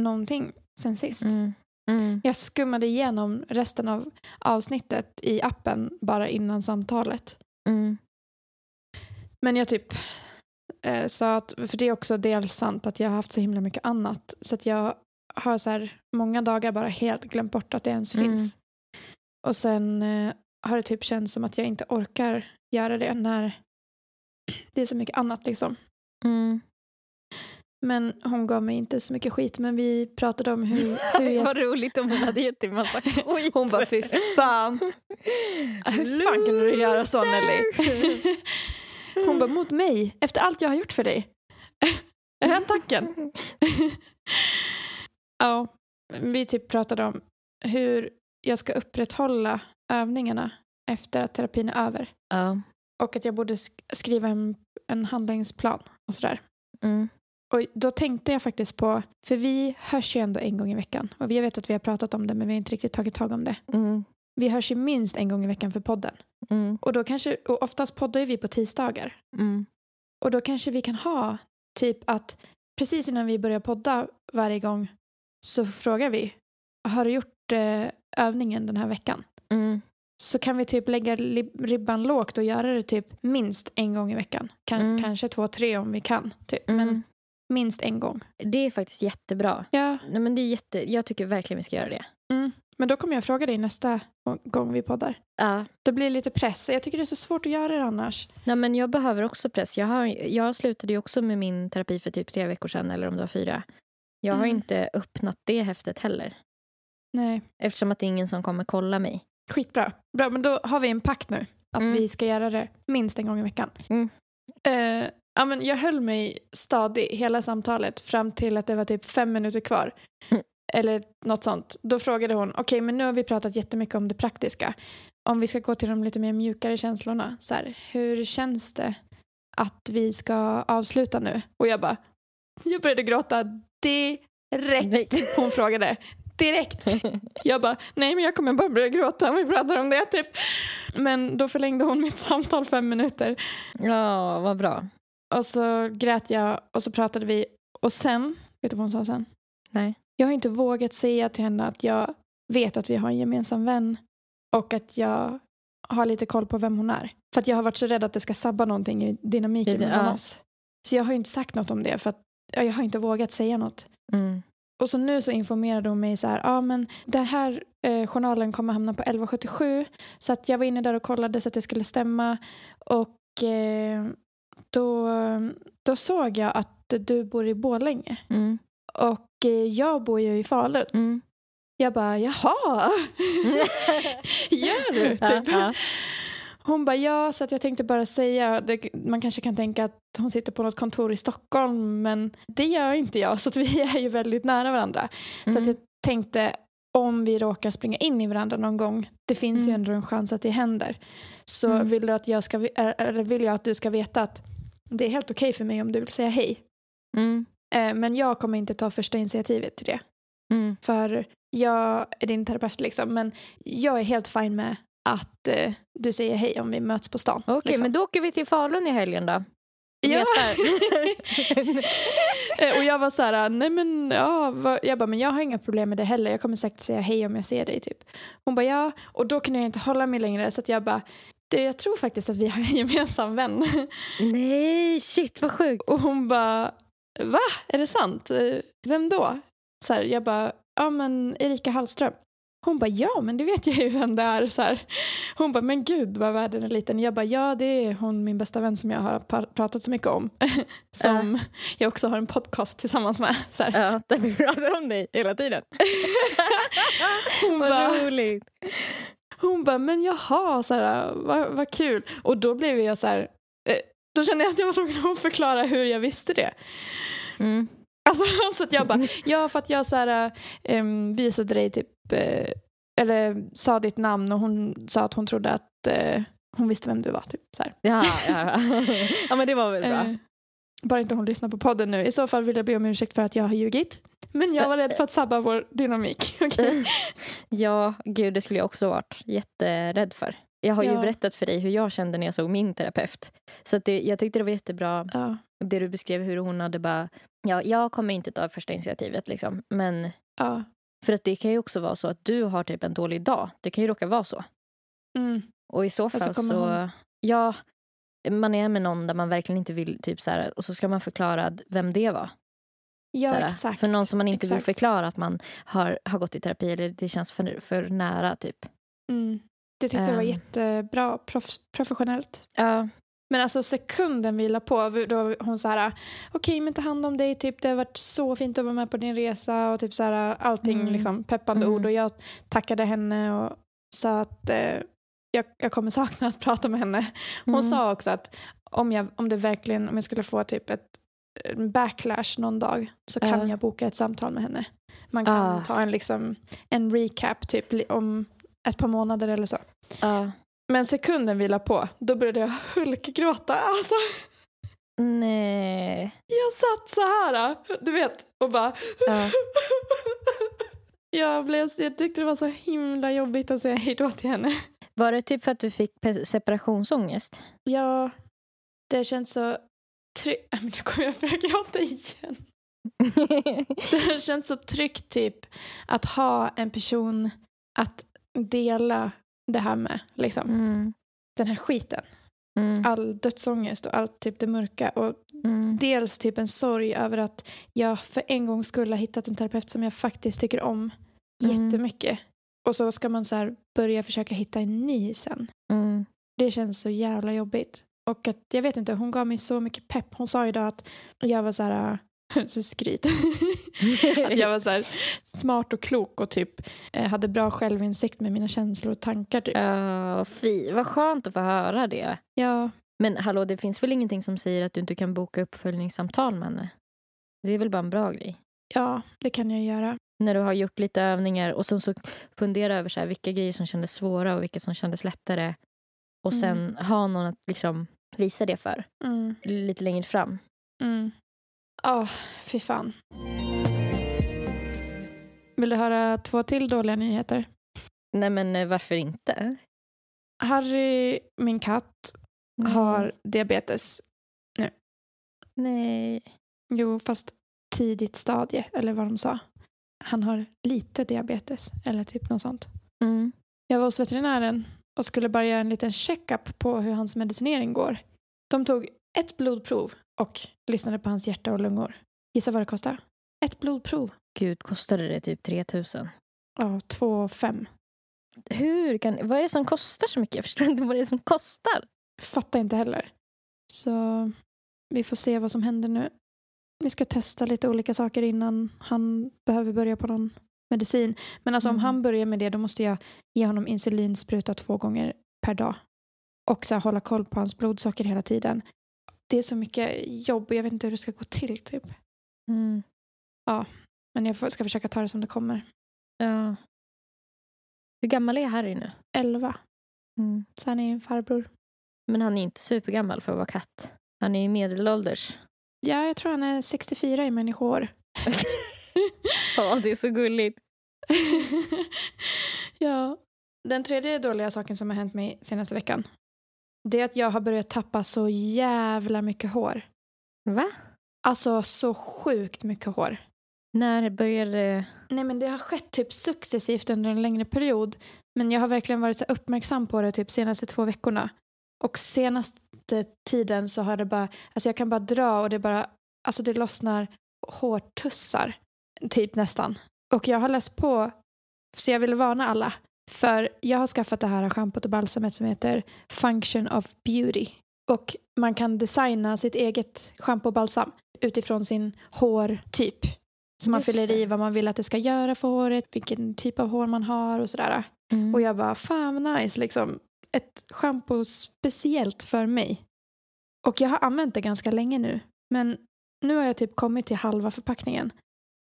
[SPEAKER 3] någonting sen sist.
[SPEAKER 2] Mm. Mm.
[SPEAKER 3] Jag skummade igenom resten av avsnittet i appen bara innan samtalet.
[SPEAKER 2] Mm.
[SPEAKER 3] Men jag typ eh, sa att, för det är också dels sant att jag har haft så himla mycket annat så att jag har så här många dagar bara helt glömt bort att det ens
[SPEAKER 2] Mm.
[SPEAKER 3] finns. Och sen eh, har det typ känts som att jag inte orkar göra det när det är så mycket annat liksom.
[SPEAKER 2] Mm.
[SPEAKER 3] Men hon gav mig inte så mycket skit men vi pratade om hur, hur jag...
[SPEAKER 2] Vad roligt om hon hade gett dig massa skit.
[SPEAKER 3] Hon bara fy fan, hur fan kunde du göra så Nelly? Hon bara mot mig, efter allt jag har gjort för dig. Är den tacken? Ja, vi typ pratade om hur jag ska upprätthålla övningarna efter att terapin är över.
[SPEAKER 2] Ja.
[SPEAKER 3] Och att jag borde sk- skriva en, en handlingsplan och sådär.
[SPEAKER 2] Mm.
[SPEAKER 3] Och då tänkte jag faktiskt på, för vi hörs ju ändå en gång i veckan. Och jag vet att vi har pratat om det men vi har inte riktigt tagit tag om det.
[SPEAKER 2] Mm.
[SPEAKER 3] Vi hörs ju minst en gång i veckan för podden.
[SPEAKER 2] Mm.
[SPEAKER 3] Och, då kanske, och oftast poddar ju vi på tisdagar.
[SPEAKER 2] Mm.
[SPEAKER 3] Och då kanske vi kan ha typ att precis innan vi börjar podda varje gång så frågar vi har du gjort eh, övningen den här veckan?
[SPEAKER 2] Mm.
[SPEAKER 3] Så kan vi typ lägga li- ribban lågt och göra det typ minst en gång i veckan. Kan,
[SPEAKER 2] Mm.
[SPEAKER 3] Kanske två, tre om vi kan. Typ. Men
[SPEAKER 2] Men
[SPEAKER 3] minst en gång.
[SPEAKER 2] mm. det är faktiskt jättebra.
[SPEAKER 3] Ja,
[SPEAKER 2] Nej, men det är jätte... Jag tycker verkligen vi ska göra det.
[SPEAKER 3] men då kommer jag fråga dig nästa gång vi poddar.
[SPEAKER 2] Ja.
[SPEAKER 3] Det blir lite press. Jag tycker det är så svårt att göra det annars.
[SPEAKER 2] Nej, men jag behöver också press. Jag, har, jag slutade ju också med min terapi för typ tre veckor sedan, eller om det var fyra. Jag har
[SPEAKER 3] Mm.
[SPEAKER 2] inte öppnat det häftet heller.
[SPEAKER 3] Nej,
[SPEAKER 2] Eftersom att det är ingen som kommer kolla mig.
[SPEAKER 3] skitbra. Bra, men då har vi en pakt nu. Att
[SPEAKER 2] Mm.
[SPEAKER 3] vi ska göra det minst en gång i veckan.
[SPEAKER 2] Mm.
[SPEAKER 3] Eh, ja, men jag höll mig stadig hela samtalet fram till att det var typ fem minuter kvar.
[SPEAKER 2] Mm.
[SPEAKER 3] Eller något sånt. Då frågade hon, okej men nu har vi pratat jättemycket om det praktiska. Om vi ska gå till de lite mer mjukare känslorna, så här, hur känns det att vi ska avsluta nu? Och jag bara, jag började gråta direkt.
[SPEAKER 2] Nej.
[SPEAKER 3] Hon frågade, direkt. Jag bara, nej men jag kommer bara börja gråta om vi pratar om det typ. Men då förlängde hon mitt samtal fem minuter.
[SPEAKER 2] Ja, vad bra.
[SPEAKER 3] Och så grät jag och så pratade vi. Och sen, vet du vad hon sa sen?
[SPEAKER 2] Nej.
[SPEAKER 3] Jag har inte vågat säga till henne att jag vet att vi har en gemensam vän och att jag har lite koll på vem hon är. För att jag har varit så rädd att det ska sabba någonting i dynamiken
[SPEAKER 2] Precis,
[SPEAKER 3] mellan
[SPEAKER 2] ja.
[SPEAKER 3] oss. Så jag har ju inte sagt något om det för att ja, jag har inte vågat säga något.
[SPEAKER 2] Mm.
[SPEAKER 3] Och så nu så informerade hon mig så här, ja ah, men den här eh, journalen kommer hamna på 1177 så att jag var inne där och kollade så att det skulle stämma och eh, då, då såg jag att du bor i Borlänge
[SPEAKER 2] Mm.
[SPEAKER 3] och eh, jag bor ju i Falun.
[SPEAKER 2] Mm.
[SPEAKER 3] Jag bara, jaha, gör du?
[SPEAKER 2] Ja,
[SPEAKER 3] Typ.
[SPEAKER 2] ja.
[SPEAKER 3] Hon bara, ja så att jag tänkte bara säga, det, man kanske kan tänka att hon sitter på något kontor i Stockholm men det gör inte jag så att vi är ju väldigt nära varandra. Så att jag
[SPEAKER 2] Mm.
[SPEAKER 3] tänkte om vi råkar springa in i varandra någon gång, det finns ju
[SPEAKER 2] Mm.
[SPEAKER 3] ändå en chans att det händer. Så
[SPEAKER 2] Mm.
[SPEAKER 3] vill, du att jag ska, ve- eller vill jag att du ska veta att det är helt okej för mig om du vill säga hej.
[SPEAKER 2] Mm.
[SPEAKER 3] Eh, Men jag kommer inte ta första initiativet till det.
[SPEAKER 2] Mm.
[SPEAKER 3] För jag är din terapeut liksom, men jag är helt fin med att eh, du säger hej om vi möts på stan.
[SPEAKER 2] Okej,
[SPEAKER 3] liksom.
[SPEAKER 2] men då åker vi till Falun i helgen då.
[SPEAKER 3] Ja.
[SPEAKER 2] Letar.
[SPEAKER 3] Eh, Och jag var så här, nej men ja, vad- jag bara, men jag har inga problem med det heller. Jag kommer säkert säga hej om jag ser dig typ. Hon bara ja, och då kunde jag inte hålla mig längre så att jag bara, du jag tror faktiskt att vi har en gemensam vän.
[SPEAKER 2] Nej, shit vad sjukt.
[SPEAKER 3] Och hon bara, va? Är det sant? Eh, Vem då? Så här, jag bara, ja men Erika Hallström. Hon bara, ja men det vet jag ju vem det är. Så här. Hon bara, men gud vad världen är liten. Jag bara, ja det är hon min bästa vän som jag har par- pratat så mycket om. som jag också har en podcast tillsammans med. Så här.
[SPEAKER 2] Ja, där vi pratar om dig hela tiden.
[SPEAKER 3] Hon bara,
[SPEAKER 2] Vad roligt.
[SPEAKER 3] Hon bara, men jaha, så här, vad, vad kul. Och då blev jag så här, eh, då kände jag att jag var tvungen att förklara hur jag visste det.
[SPEAKER 2] Mm.
[SPEAKER 3] Alltså så att jag bara, ja för att jag så här, eh, visade dig typ, eh, eller sa ditt namn och hon sa att hon trodde att eh, hon visste vem du var. Typ, så här.
[SPEAKER 2] Ja, ja, ja. ja, men det var väl bra.
[SPEAKER 3] Eh, bara inte hon lyssnar på podden nu. I så fall vill jag be om ursäkt för att jag har ljugit. Men jag var rädd för att sabba vår dynamik. Okej.
[SPEAKER 2] Ja, gud det skulle jag också varit jätterädd för. Jag har ju
[SPEAKER 3] Ja.
[SPEAKER 2] berättat för dig hur jag kände när jag såg min terapeut. Så att det, jag tyckte det var jättebra
[SPEAKER 3] Ja.
[SPEAKER 2] det du beskrev hur hon hade bara, ja jag kommer inte ta första initiativet liksom. Men
[SPEAKER 3] ja.
[SPEAKER 2] för att det kan ju också vara så att du har typ en dålig dag. Det kan ju råka vara så.
[SPEAKER 3] Mm.
[SPEAKER 2] Och i så
[SPEAKER 3] så
[SPEAKER 2] fall så,
[SPEAKER 3] kommer hon-
[SPEAKER 2] ja, man är med någon där man verkligen inte vill typ så här, och så ska man förklara vem det var.
[SPEAKER 3] ja
[SPEAKER 2] så här,
[SPEAKER 3] exakt.
[SPEAKER 2] För någon som man inte
[SPEAKER 3] exakt.
[SPEAKER 2] vill förklara att man har, har gått i terapi eller det känns för, för nära typ.
[SPEAKER 3] Mm. Det tyckte jag var
[SPEAKER 2] Ehm.
[SPEAKER 3] jättebra proffs, professionellt.
[SPEAKER 2] Ja,
[SPEAKER 3] Men alltså sekunden vi la på, då var hon så här, okej men ta hand om dig, typ det har varit så fint att vara med på din resa och typ så här allting
[SPEAKER 2] Mm.
[SPEAKER 3] liksom peppande
[SPEAKER 2] Mm.
[SPEAKER 3] ord och jag tackade henne och sa att eh, jag, jag kommer sakna att prata med henne. Hon
[SPEAKER 2] Mm.
[SPEAKER 3] sa också att om jag, om det verkligen, om jag skulle få typ ett en backlash någon dag så kan
[SPEAKER 2] Ja.
[SPEAKER 3] jag boka ett samtal med henne. Man kan
[SPEAKER 2] Ah.
[SPEAKER 3] ta en, liksom, en recap typ li- om ett par månader eller så.
[SPEAKER 2] ja.
[SPEAKER 3] Men sekunden vi la på, då började jag hulkgråta. Alltså,
[SPEAKER 2] Nej.
[SPEAKER 3] jag satt så här, du vet, och bara...
[SPEAKER 2] Ja.
[SPEAKER 3] Jag, blev, jag tyckte det var så himla jobbigt att säga hejdå till henne.
[SPEAKER 2] Var det typ för att du fick pe- separationsångest?
[SPEAKER 3] Ja, det känns så tryggt. Men nu kommer jag börja gråta igen. Det känns så tryggt typ att ha en person att dela det här med. Liksom.
[SPEAKER 2] mm.
[SPEAKER 3] Den här skiten.
[SPEAKER 2] Mm.
[SPEAKER 3] All dödsångest och allt typ det mörka. Och
[SPEAKER 2] Mm.
[SPEAKER 3] Dels typ en sorg över att jag för en gång skulle ha hittat en terapeut som jag faktiskt tycker om
[SPEAKER 2] Mm.
[SPEAKER 3] jättemycket. Och så ska man så här börja försöka hitta en ny sen.
[SPEAKER 2] Mm.
[SPEAKER 3] Det känns så jävla jobbigt. Och att, jag vet inte, hon gav mig så mycket pepp. Hon sa idag att jag var så här, äh, så skryt. att jag var så här smart och klok och typ eh, hade bra självinsikt med mina känslor och tankar typ.
[SPEAKER 2] Ja, fy, vad skönt att få höra det.
[SPEAKER 3] Ja,
[SPEAKER 2] Men hallå, det finns väl ingenting som säger att du inte kan boka uppföljningssamtal med henne? Det är väl bara en bra grej?
[SPEAKER 3] ja, det kan jag göra.
[SPEAKER 2] När du har gjort lite övningar och sen så fundera över så här, vilka grejer som kändes svåra och vilka som kändes lättare. Och sen ha någon att liksom visa det för
[SPEAKER 3] Mm,
[SPEAKER 2] lite längre fram.
[SPEAKER 3] mm. Ja, fy fan. Vill du höra två till dåliga nyheter?
[SPEAKER 2] Nej men eh, varför inte?
[SPEAKER 3] Harry, min katt,
[SPEAKER 2] Nej.
[SPEAKER 3] har diabetes.
[SPEAKER 2] Nej.
[SPEAKER 3] Jo, fast tidigt stadie, eller vad de sa. Han har lite diabetes, eller typ något sånt.
[SPEAKER 2] Mm.
[SPEAKER 3] Jag var hos veterinären och skulle bara göra en liten checkup på hur hans medicinering går. De tog ett blodprov och lyssnade på hans hjärta och lungor. Gissa vad det kostade? Ett blodprov.
[SPEAKER 2] Gud, kostade det typ 3000?
[SPEAKER 3] Ja, två fem.
[SPEAKER 2] Hur kan... Vad är det som kostar så mycket? Jag förstår inte vad det är som kostar.
[SPEAKER 3] Fattar inte heller. Så vi får se vad som händer nu. Vi ska testa lite olika saker innan han behöver börja på någon medicin. Men alltså om
[SPEAKER 2] Mm.
[SPEAKER 3] han börjar med det då måste jag ge honom insulinspruta två gånger per dag. Och så här, hålla koll på hans blodsocker hela tiden. Det är så mycket jobb och jag vet inte hur det ska gå till typ.
[SPEAKER 2] Mm.
[SPEAKER 3] Men jag får- ska försöka ta det som det kommer.
[SPEAKER 2] Ja. Hur gammal är Harry nu?
[SPEAKER 3] Elva.
[SPEAKER 2] Mm.
[SPEAKER 3] Så han är ju en farbror.
[SPEAKER 2] Men han är inte supergammal för att vara katt. Han är ju medelålders.
[SPEAKER 3] Ja, jag tror han är 64 i människor.
[SPEAKER 2] Ja, det är så gulligt.
[SPEAKER 3] ja. Den tredje dåliga saken som har hänt mig senaste veckan. Det är att jag har börjat tappa så jävla mycket hår.
[SPEAKER 2] Va?
[SPEAKER 3] Alltså så sjukt mycket hår.
[SPEAKER 2] När började...
[SPEAKER 3] Nej men det har skett typ successivt under en längre period. Men jag har verkligen varit så här uppmärksam på det typ senaste två veckorna. Och senaste tiden så har det bara, alltså jag kan bara dra och det bara, alltså det lossnar hårtussar. Typ nästan. Och jag har läst på, så jag vill varna alla. För jag har skaffat det här schampot och balsamet som heter Function of Beauty. Och man kan designa sitt eget schampo och balsam utifrån sin hårtyp. Så man
[SPEAKER 2] Just
[SPEAKER 3] fyller
[SPEAKER 2] det.
[SPEAKER 3] i vad man vill att det ska göra för håret, vilken typ av hår man har och sådär.
[SPEAKER 2] Mm.
[SPEAKER 3] Och jag bara, fan vad nice, liksom. Ett schampo speciellt för mig. Och jag har använt det ganska länge nu. Men nu har jag typ kommit till halva förpackningen.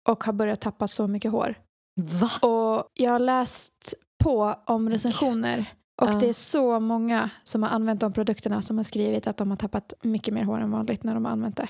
[SPEAKER 3] Och har börjat tappa så mycket hår.
[SPEAKER 2] Va?
[SPEAKER 3] Och jag har läst på om recensioner. Och
[SPEAKER 2] Ja.
[SPEAKER 3] det är så många som har använt de produkterna som har skrivit att de har tappat mycket mer hår än vanligt när de har använt det.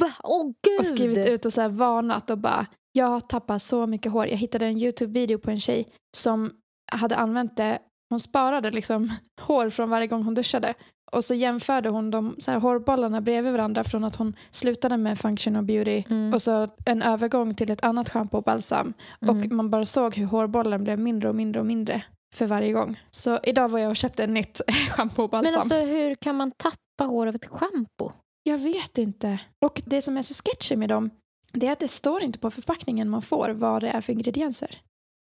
[SPEAKER 2] Va? Åh gud!
[SPEAKER 3] Och skrivit ut och så här varnat och bara jag tappar så mycket hår. Jag hittade en YouTube-video på en tjej som hade använt det. Hon sparade liksom hår från varje gång hon duschade. Och så jämförde hon de så här, hårbollarna bredvid varandra från att hon slutade med Function of Beauty
[SPEAKER 2] Mm.
[SPEAKER 3] och så en övergång till ett annat schampo och balsam. Och
[SPEAKER 2] Mm.
[SPEAKER 3] man bara såg hur hårbollen blev mindre och mindre och mindre för varje gång. Så idag var jag och köpte ett nytt schampo och balsam.
[SPEAKER 2] Men alltså hur kan man tappa hår av ett schampo?
[SPEAKER 3] Jag vet inte. Och det som är så sketchy med dem, det är att det står inte på förpackningen man får vad det är för ingredienser.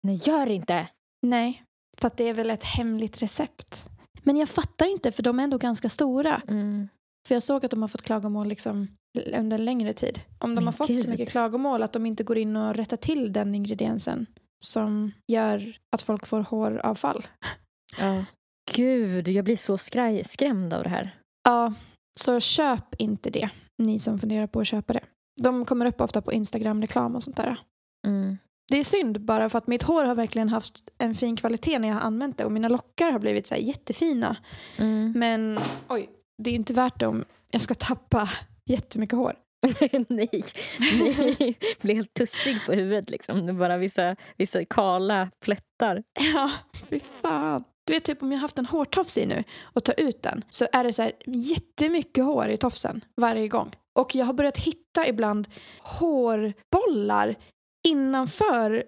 [SPEAKER 2] Nej, gör inte!
[SPEAKER 3] Nej, för att det är väl ett hemligt recept. Men jag fattar inte, för de är ändå ganska stora.
[SPEAKER 2] Mm.
[SPEAKER 3] För jag såg att de har fått klagomål liksom l- under en längre tid. Om de
[SPEAKER 2] Men
[SPEAKER 3] har fått
[SPEAKER 2] gud.
[SPEAKER 3] så mycket klagomål att de inte går in och rättar till den ingrediensen som gör att folk får håravfall.
[SPEAKER 2] Ja. Gud, jag blir så skraj- skrämd av det här.
[SPEAKER 3] Ja, så köp inte det, ni som funderar på att köpa det. De kommer upp ofta på Instagram-reklam och sånt där.
[SPEAKER 2] Mm.
[SPEAKER 3] Det är synd bara för att mitt hår har verkligen haft en fin kvalitet när jag har använt det och mina lockar har blivit så här jättefina.
[SPEAKER 2] Mm.
[SPEAKER 3] Men oj, det är ju inte värt det om jag ska tappa jättemycket hår.
[SPEAKER 2] nej, nej. Blir helt tussig på huvudet liksom. Det är bara vissa, vissa kala plättar.
[SPEAKER 3] Ja, fy fan. Du vet typ om jag har haft en hårtofs i nu och tar ut den så är det så här jättemycket hår i tofsen varje gång. Och jag har börjat hitta ibland hårbollar innanför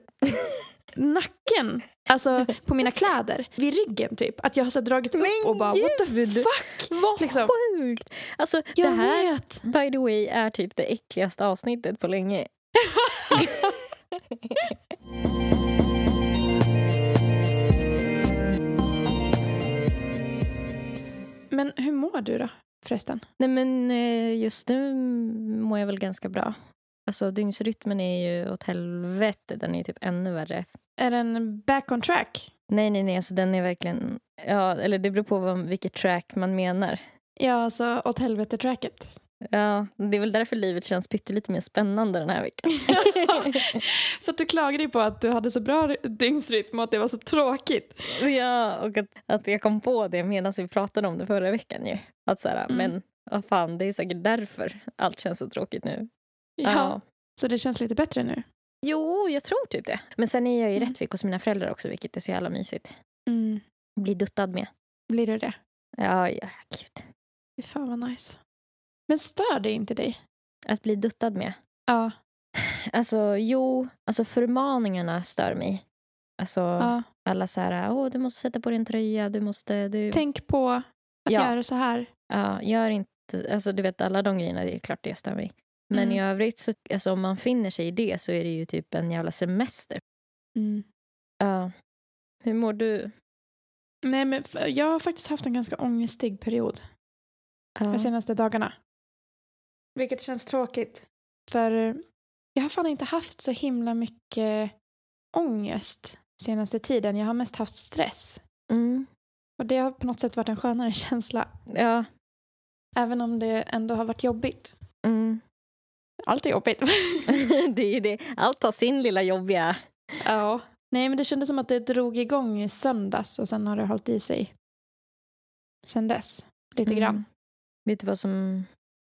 [SPEAKER 3] nacken. Alltså på mina kläder, vid ryggen typ. Att jag har så här dragit upp
[SPEAKER 2] Men
[SPEAKER 3] och bara what the
[SPEAKER 2] gud!
[SPEAKER 3] fuck.
[SPEAKER 2] Vad
[SPEAKER 3] Liksom.
[SPEAKER 2] sjukt! Alltså
[SPEAKER 3] Jag
[SPEAKER 2] det här
[SPEAKER 3] vet.
[SPEAKER 2] By the way är typ det äckligaste avsnittet på länge.
[SPEAKER 3] Men hur mår du då förresten?
[SPEAKER 2] Nej men eh, just nu mår jag väl ganska bra. Alltså dygnsrytmen är ju åt helvete, den är typ ännu värre.
[SPEAKER 3] Är den back on track?
[SPEAKER 2] Nej nej nej, alltså den är verkligen, ja eller det beror på vad, vilket track man menar.
[SPEAKER 3] Ja, alltså åt helvete-tracket.
[SPEAKER 2] Ja, det är väl därför livet känns pyttelite mer spännande den här veckan.
[SPEAKER 3] För att du klagade ju på att du hade så bra dygnsrytm och att det var så tråkigt.
[SPEAKER 2] ja, och att, att jag kom på det medan vi pratade om det förra veckan ju. Att så här,
[SPEAKER 3] Mm.
[SPEAKER 2] men vad fan, det är säkert därför allt känns så tråkigt nu. Ja.
[SPEAKER 3] Så det känns lite bättre nu?
[SPEAKER 2] Jo, jag tror typ det. Men sen är jag i
[SPEAKER 3] Mm.
[SPEAKER 2] Rättvik hos mina föräldrar också, vilket är så jävla mysigt.
[SPEAKER 3] Mm.
[SPEAKER 2] Blir duttad med.
[SPEAKER 3] Blir du det?
[SPEAKER 2] Ja, ja, gud.
[SPEAKER 3] Fy fan vad nice. Men stör det inte dig?
[SPEAKER 2] Att bli duttad med.
[SPEAKER 3] Ja.
[SPEAKER 2] Alltså, jo, alltså förmaningarna stör mig. Alltså,
[SPEAKER 3] ja.
[SPEAKER 2] alla så här, åh, du måste sätta på dig en tröja, du måste, du...
[SPEAKER 3] Tänk på att
[SPEAKER 2] Ja.
[SPEAKER 3] göra så här.
[SPEAKER 2] Ja, gör inte, alltså du vet alla de grejerna, det är klart det stör mig. Men
[SPEAKER 3] Mm.
[SPEAKER 2] i övrigt, så, alltså, om man finner sig i det så är det ju typ en jävla semester.
[SPEAKER 3] Mm.
[SPEAKER 2] Ja. Hur mår du?
[SPEAKER 3] Nej, men f- jag har faktiskt haft en ganska ångestig period
[SPEAKER 2] Ja.
[SPEAKER 3] de senaste dagarna. Vilket känns tråkigt. För eh, jag har fan inte haft så himla mycket ångest senaste tiden. Jag har mest haft stress.
[SPEAKER 2] Mm.
[SPEAKER 3] Och det har på något sätt varit en skönare känsla.
[SPEAKER 2] Ja.
[SPEAKER 3] Även om det ändå har varit jobbigt.
[SPEAKER 2] Mm.
[SPEAKER 3] Allt är jobbigt.
[SPEAKER 2] det är ju det. Allt har sin lilla jobbiga.
[SPEAKER 3] ja. Nej men det kändes som att det drog igång i söndags och sen har det hållit i sig. Sen dess. Lite
[SPEAKER 2] Mm.
[SPEAKER 3] grann.
[SPEAKER 2] Vet du vad som...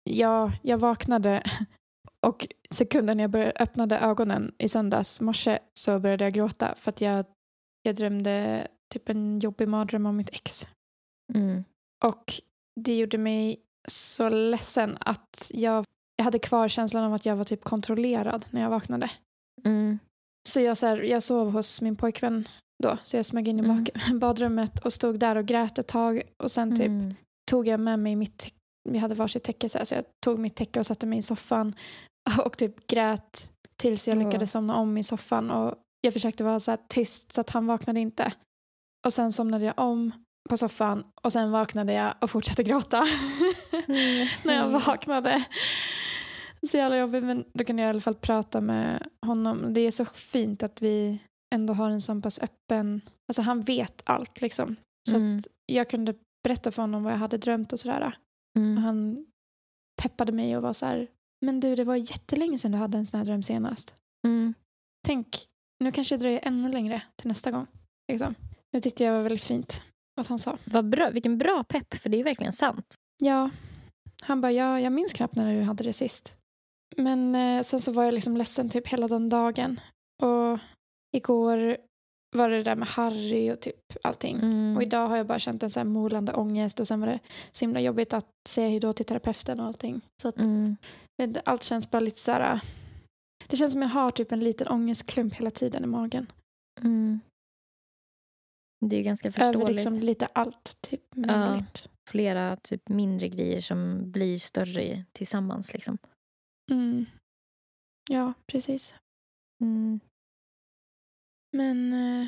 [SPEAKER 3] Ja, jag vaknade och sekunden jag började, öppnade ögonen i söndags morse så började jag gråta för att jag, jag drömde typ en jobbig mardröm om mitt ex.
[SPEAKER 2] Mm.
[SPEAKER 3] Och det gjorde mig så ledsen att jag, jag hade kvar känslan av att jag var typ kontrollerad när jag vaknade.
[SPEAKER 2] Mm.
[SPEAKER 3] Så jag, så här, jag sov hos min pojkvän då, så jag smög in i
[SPEAKER 2] Mm.
[SPEAKER 3] bak- badrummet och stod där och grät ett tag och sen typ
[SPEAKER 2] Mm.
[SPEAKER 3] tog jag med mig mitt täcke, vi hade varsitt täcke så, här, så jag tog mitt täcke och satte mig i soffan och typ grät Tills jag
[SPEAKER 2] Ja.
[SPEAKER 3] lyckades somna om i soffan och jag försökte vara så här tyst så att han vaknade inte. Och sen somnade jag om på soffan och sen vaknade jag och fortsatte gråta när jag
[SPEAKER 2] Mm.
[SPEAKER 3] vaknade. Så jävla jobbigt men då kunde jag i alla fall prata med honom. Det är så fint att vi ändå har en sån pass öppen, alltså han vet allt liksom. Så
[SPEAKER 2] Mm.
[SPEAKER 3] att jag kunde berätta för honom vad jag hade drömt och sådär. Och
[SPEAKER 2] Mm.
[SPEAKER 3] han peppade mig och var så här, men du det var jättelänge sedan du hade en sån här dröm senast.
[SPEAKER 2] Mm.
[SPEAKER 3] Tänk, nu kanske det dröjer ännu längre till nästa gång. Liksom. Det tyckte jag var väldigt fint att han sa.
[SPEAKER 2] Vad bra, vilken bra pepp, för det är verkligen sant.
[SPEAKER 3] Ja, han bara, ja, jag minns knappt när du hade det sist. Men eh, sen så var jag liksom ledsen typ hela den dagen. Och igår var det där med Harry och typ allting.
[SPEAKER 2] Mm.
[SPEAKER 3] Och idag har jag bara känt en så här molande ångest och sen var det så himla jobbigt att säga hej då till terapeuten och allting. Så att
[SPEAKER 2] Mm.
[SPEAKER 3] Men det- Allt känns bara lite så här... äh, Det känns som jag har typ en liten ångestklump hela tiden i magen.
[SPEAKER 2] Mm. Det är ju ganska
[SPEAKER 3] Över
[SPEAKER 2] förståeligt.
[SPEAKER 3] liksom lite allt. Typ, men
[SPEAKER 2] Ja.
[SPEAKER 3] väldigt-
[SPEAKER 2] Flera typ mindre grejer som blir större tillsammans. Liksom.
[SPEAKER 3] mm. ja, precis.
[SPEAKER 2] Mm.
[SPEAKER 3] Men... eh,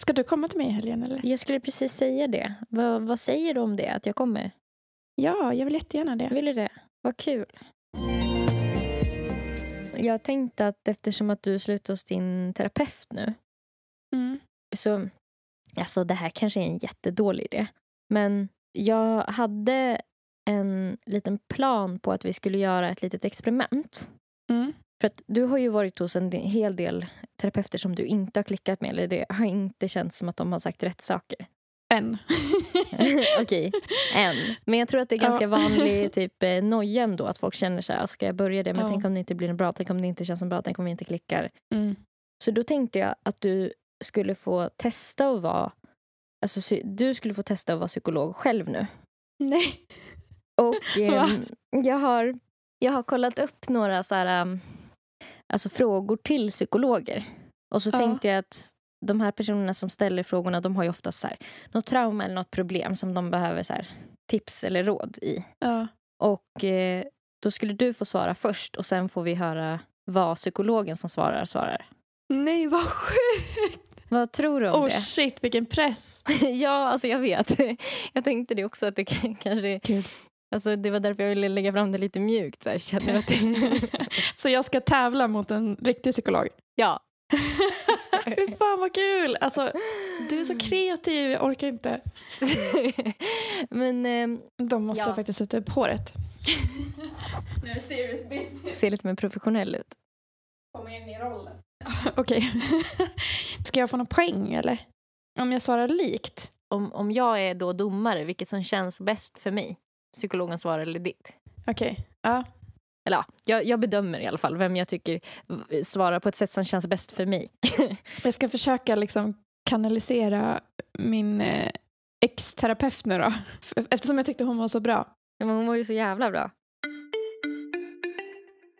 [SPEAKER 3] Ska du komma till mig i helgen eller?
[SPEAKER 2] Jag skulle precis säga det. Vad, vad säger du om det, att jag kommer?
[SPEAKER 3] Ja, jag vill jättegärna det.
[SPEAKER 2] Vill du det? Vad kul. Jag tänkte att eftersom att du slutar hos din terapeut nu
[SPEAKER 3] Mm.
[SPEAKER 2] så, alltså det här kanske är en jättedålig idé. Men jag hade en liten plan på att vi skulle göra ett litet experiment.
[SPEAKER 3] Mm.
[SPEAKER 2] För att du har ju varit hos en del- hel del terapeuter som du inte har klickat med. Eller det har inte känts som att de har sagt rätt saker.
[SPEAKER 3] En.
[SPEAKER 2] Okej, en. Men jag tror att det är ganska
[SPEAKER 3] Ja.
[SPEAKER 2] vanlig typ, eh, noja ändå. Att folk känner så här, "Ah, ska jag börja det? Men
[SPEAKER 3] Ja.
[SPEAKER 2] tänk om det inte blir bra. Tänk om det inte känns bra. Tänk om vi inte klickar.
[SPEAKER 3] Mm.
[SPEAKER 2] Så då tänkte jag att du skulle få testa att vara Alltså, psy- du skulle få testa att vara psykolog själv nu.
[SPEAKER 3] Nej.
[SPEAKER 2] Och ehm, jag, har, jag har kollat upp några så här, ehm, alltså frågor till psykologer. Och så
[SPEAKER 3] Ja.
[SPEAKER 2] tänkte jag att de här personerna som ställer frågorna de har ju oftast så här, något trauma eller något problem som de behöver så här, tips eller råd i.
[SPEAKER 3] Ja.
[SPEAKER 2] Och eh, då skulle du få svara först och sen får vi höra vad psykologen som svarar svarar.
[SPEAKER 3] Nej, vad sjukt!
[SPEAKER 2] Vad tror du om
[SPEAKER 3] Oh
[SPEAKER 2] det?
[SPEAKER 3] shit, vilken press.
[SPEAKER 2] Ja, alltså jag vet. Jag tänkte det också att det k- kanske...
[SPEAKER 3] Kul.
[SPEAKER 2] Alltså det var därför jag ville lägga fram det lite mjukt. Så här, känner att
[SPEAKER 3] Så jag ska tävla mot en riktig psykolog?
[SPEAKER 2] ja.
[SPEAKER 3] Fy fan vad kul! Alltså, du är så kreativ, jag orkar inte.
[SPEAKER 2] Men ehm,
[SPEAKER 3] De måste
[SPEAKER 2] Ja.
[SPEAKER 3] faktiskt sätta upp håret. När det serious business.
[SPEAKER 2] ser lite mer professionell ut.
[SPEAKER 3] Komma in i rollen. Okej. Ska jag få någon poäng eller? Om jag svarar likt?
[SPEAKER 2] Om, om jag är då domare, vilket som känns bäst för mig? Psykologens svar eller ditt?
[SPEAKER 3] Okej. Ja.
[SPEAKER 2] Eller ja, jag, jag bedömer i alla fall vem jag tycker v- svarar på ett sätt som känns bäst för mig.
[SPEAKER 3] Jag ska försöka liksom kanalisera min eh, ex-terapeut nu då. F- Eftersom jag tyckte hon var så bra.
[SPEAKER 2] Men hon var ju så jävla bra.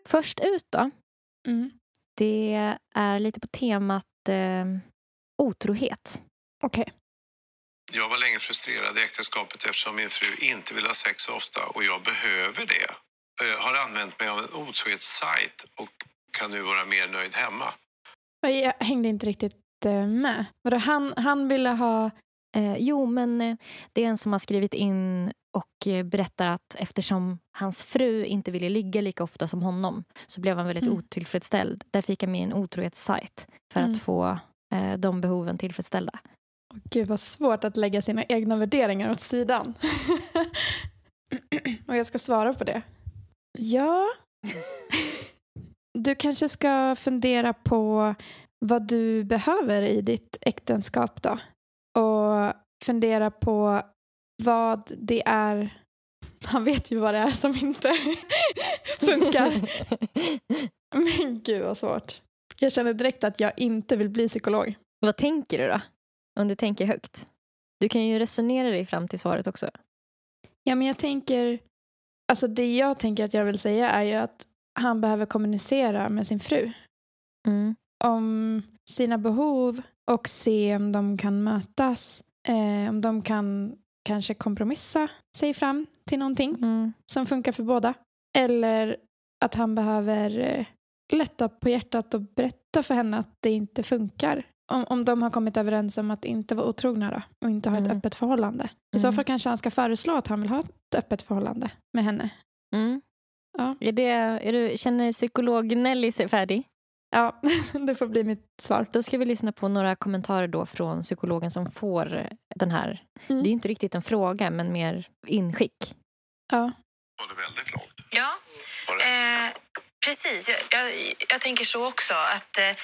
[SPEAKER 2] Först ut då.
[SPEAKER 3] Mm.
[SPEAKER 2] Det är lite på temat eh, otrohet.
[SPEAKER 3] Okej.
[SPEAKER 4] Jag var länge frustrerad i äktenskapet eftersom min fru inte vill ha sex så ofta och jag behöver det. Jag har använt mig av en otrohetssajt och kan nu vara mer nöjd hemma.
[SPEAKER 3] Och Jag hängde inte riktigt eh, med. Vadå, han, han ville ha...
[SPEAKER 2] Eh, jo, men eh, det är en som har skrivit in och eh, berättar att eftersom hans fru inte ville ligga lika ofta som honom så blev han väldigt
[SPEAKER 3] Mm.
[SPEAKER 2] otillfredsställd. Där fick han med en otrohetssajt för
[SPEAKER 3] Mm.
[SPEAKER 2] att få eh, de behoven tillfredsställda.
[SPEAKER 3] Gud vad svårt att lägga sina egna värderingar åt sidan. Och jag ska svara på det. Ja. Du kanske ska fundera på vad du behöver i ditt äktenskap då. Och fundera på vad det är. Han vet ju vad det är som inte funkar. Men gud vad svårt. Jag känner direkt att jag inte vill bli psykolog.
[SPEAKER 2] Vad tänker du då? Om du tänker högt. Du kan ju resonera dig fram till svaret också.
[SPEAKER 3] Ja, men jag tänker... Alltså det jag tänker att jag vill säga är ju att han behöver kommunicera med sin fru
[SPEAKER 2] Mm.
[SPEAKER 3] om sina behov och se om de kan mötas. Eh, om de kan kanske kompromissa sig fram till någonting
[SPEAKER 2] Mm.
[SPEAKER 3] som funkar för båda. Eller att han behöver eh, lätta på hjärtat och berätta för henne att det inte funkar. Om, om de har kommit överens om att inte vara otrogna då, och inte ha ett
[SPEAKER 2] Mm.
[SPEAKER 3] öppet förhållande. I så
[SPEAKER 2] Mm.
[SPEAKER 3] fall kanske han ska föreslå att han vill ha ett öppet förhållande med henne.
[SPEAKER 2] Mm.
[SPEAKER 3] Ja.
[SPEAKER 2] Är det, är du, känner psykolog Nelly sig färdig?
[SPEAKER 3] Ja, det får bli mitt svar.
[SPEAKER 2] Då ska vi lyssna på några kommentarer då från psykologen som får den här.
[SPEAKER 3] Mm.
[SPEAKER 2] Det är inte riktigt en fråga, men mer inskick.
[SPEAKER 3] Ja.
[SPEAKER 4] Var det väldigt långt?
[SPEAKER 5] Ja,
[SPEAKER 4] Var det?
[SPEAKER 5] eh, precis. Jag, jag, jag tänker så också. att eh,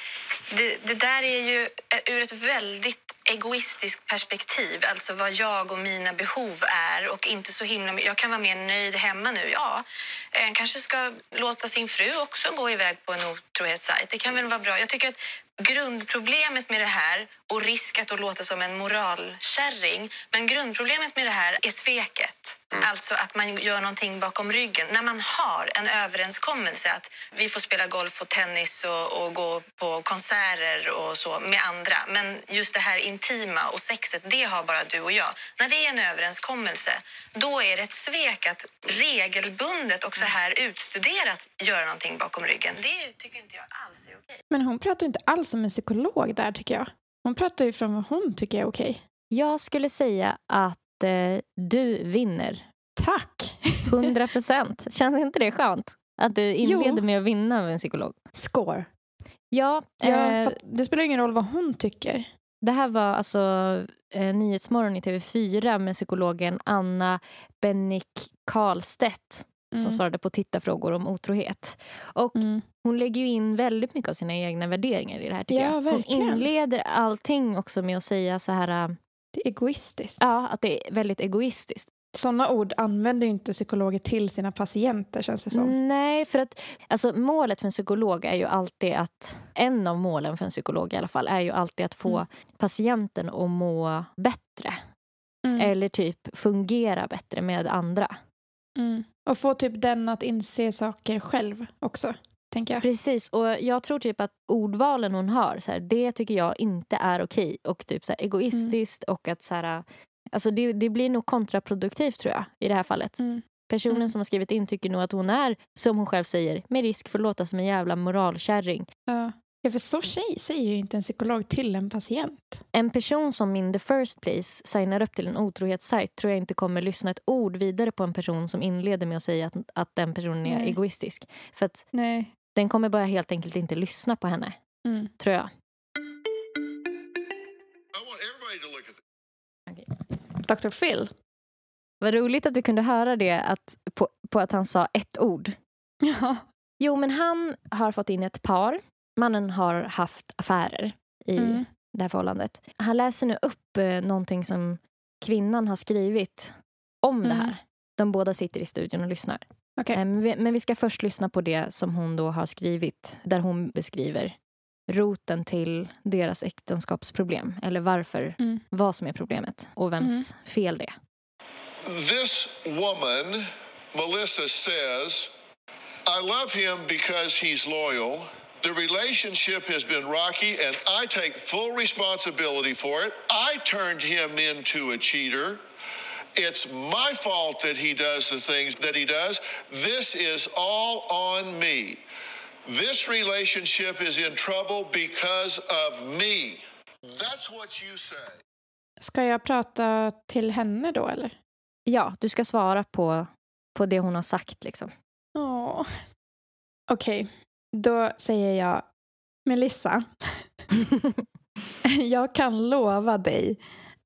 [SPEAKER 5] det, det där är ju eh, ur ett väldigt egoistiskt perspektiv. Alltså vad jag och mina behov är. och inte så himla... my- Jag kan vara mer nöjd hemma nu. Ja, en kanske ska låta sin fru också gå iväg på en otrohetssajt. Det kan väl vara bra. Jag tycker att grundproblemet med det här och risk att då låta som en moralkärring. Men grundproblemet med det här är sveket. Alltså att man gör någonting bakom ryggen. När man har en överenskommelse att vi får spela golf och tennis och, och gå på konserter och så med andra. Men just det här intima och sexet, det har bara du och jag. När det är en överenskommelse, då är det ett svek att regelbundet och så här utstuderat göra någonting bakom ryggen. Det tycker inte jag alls är okej.
[SPEAKER 3] Men hon pratar ju inte alls som en psykolog där tycker jag. Hon pratar ju från vad hon tycker är okej.
[SPEAKER 2] Jag skulle säga att eh, du vinner.
[SPEAKER 3] Tack!
[SPEAKER 2] 100 procent. Känns inte det skönt? Att du inleder
[SPEAKER 3] Jo.
[SPEAKER 2] med att vinna av en psykolog.
[SPEAKER 3] Score.
[SPEAKER 2] Ja,
[SPEAKER 3] Ja,
[SPEAKER 2] eh,
[SPEAKER 3] fatt- det spelar ingen roll vad hon tycker.
[SPEAKER 2] det här var alltså eh, Nyhetsmorgon i TV4 med psykologen Anna Bennick Karlstedt som svarade på tittarfrågor om otrohet. Och
[SPEAKER 3] Mm.
[SPEAKER 2] Hon lägger ju in väldigt mycket av sina egna värderingar i det här. Tycker
[SPEAKER 3] Ja,
[SPEAKER 2] jag. Hon
[SPEAKER 3] verkligen.
[SPEAKER 2] inleder allting också med att säga så här, äh,
[SPEAKER 3] Det är egoistiskt.
[SPEAKER 2] ja, att det är väldigt egoistiskt.
[SPEAKER 3] Sådana ord använder ju inte psykologer till sina patienter känns
[SPEAKER 2] Liksom.
[SPEAKER 3] det som.
[SPEAKER 2] Mm, Nej, för att alltså, målet för en psykolog är ju alltid att... En av målen för en psykolog i alla fall är ju alltid att få
[SPEAKER 3] Mm.
[SPEAKER 2] patienten att må bättre.
[SPEAKER 3] Mm.
[SPEAKER 2] Eller typ fungera bättre med andra.
[SPEAKER 3] Mm. Och få typ den att inse saker själv också, tänker jag.
[SPEAKER 2] Precis, och jag tror typ att ordvalen hon har, så här, det tycker jag inte är okej. Och typ så här, egoistiskt
[SPEAKER 3] Mm.
[SPEAKER 2] och att så här, alltså det, det blir nog kontraproduktivt tror jag i det här fallet.
[SPEAKER 3] Mm.
[SPEAKER 2] Personen
[SPEAKER 3] Mm.
[SPEAKER 2] som har skrivit in tycker nog att hon är, som hon själv säger, med risk för att låta som en jävla moralkärring.
[SPEAKER 3] Ja. ja, för så tjej säger ju inte en psykolog till en patient.
[SPEAKER 2] En person som in the first place signar upp till en otrohetssajt tror jag inte kommer lyssna ett ord vidare på en person som inleder med att säga att, att den personen är
[SPEAKER 3] Nej.
[SPEAKER 2] egoistisk. För att
[SPEAKER 3] Nej.
[SPEAKER 2] den kommer bara helt enkelt inte lyssna på henne,
[SPEAKER 3] Mm.
[SPEAKER 2] tror jag.
[SPEAKER 4] I want everybody to look at
[SPEAKER 3] Dr. Phil.
[SPEAKER 2] Vad roligt att du kunde höra det att, på, på att han sa ett ord.
[SPEAKER 3] Ja.
[SPEAKER 2] Jo, men han har fått in ett par. Mannen har haft affärer i
[SPEAKER 3] Mm.
[SPEAKER 2] det här förhållandet. Han läser nu upp eh, någonting som kvinnan har skrivit om det
[SPEAKER 3] Mm.
[SPEAKER 2] här. De båda sitter i studion och lyssnar.
[SPEAKER 3] Okej.
[SPEAKER 2] Eh, men, vi, men vi ska först lyssna på det som hon då har skrivit där hon beskriver roten till deras äktenskapsproblem. Eller varför,
[SPEAKER 3] Mm.
[SPEAKER 2] vad som är problemet och vems fel det är.
[SPEAKER 6] this woman, Melissa, says, I love him because he's loyal. The relationship has been rocky, and I take full responsibility for it. I turned him into a cheater. It's my fault that he does the things that he does. This is all on me. This relationship is in trouble because of me. That's what you say.
[SPEAKER 3] Ska jag prata till henne då, eller?
[SPEAKER 2] Ja, du ska svara på, på det hon har sagt. Liksom.
[SPEAKER 3] Ja. Okej, då säger jag Melissa. jag kan lova dig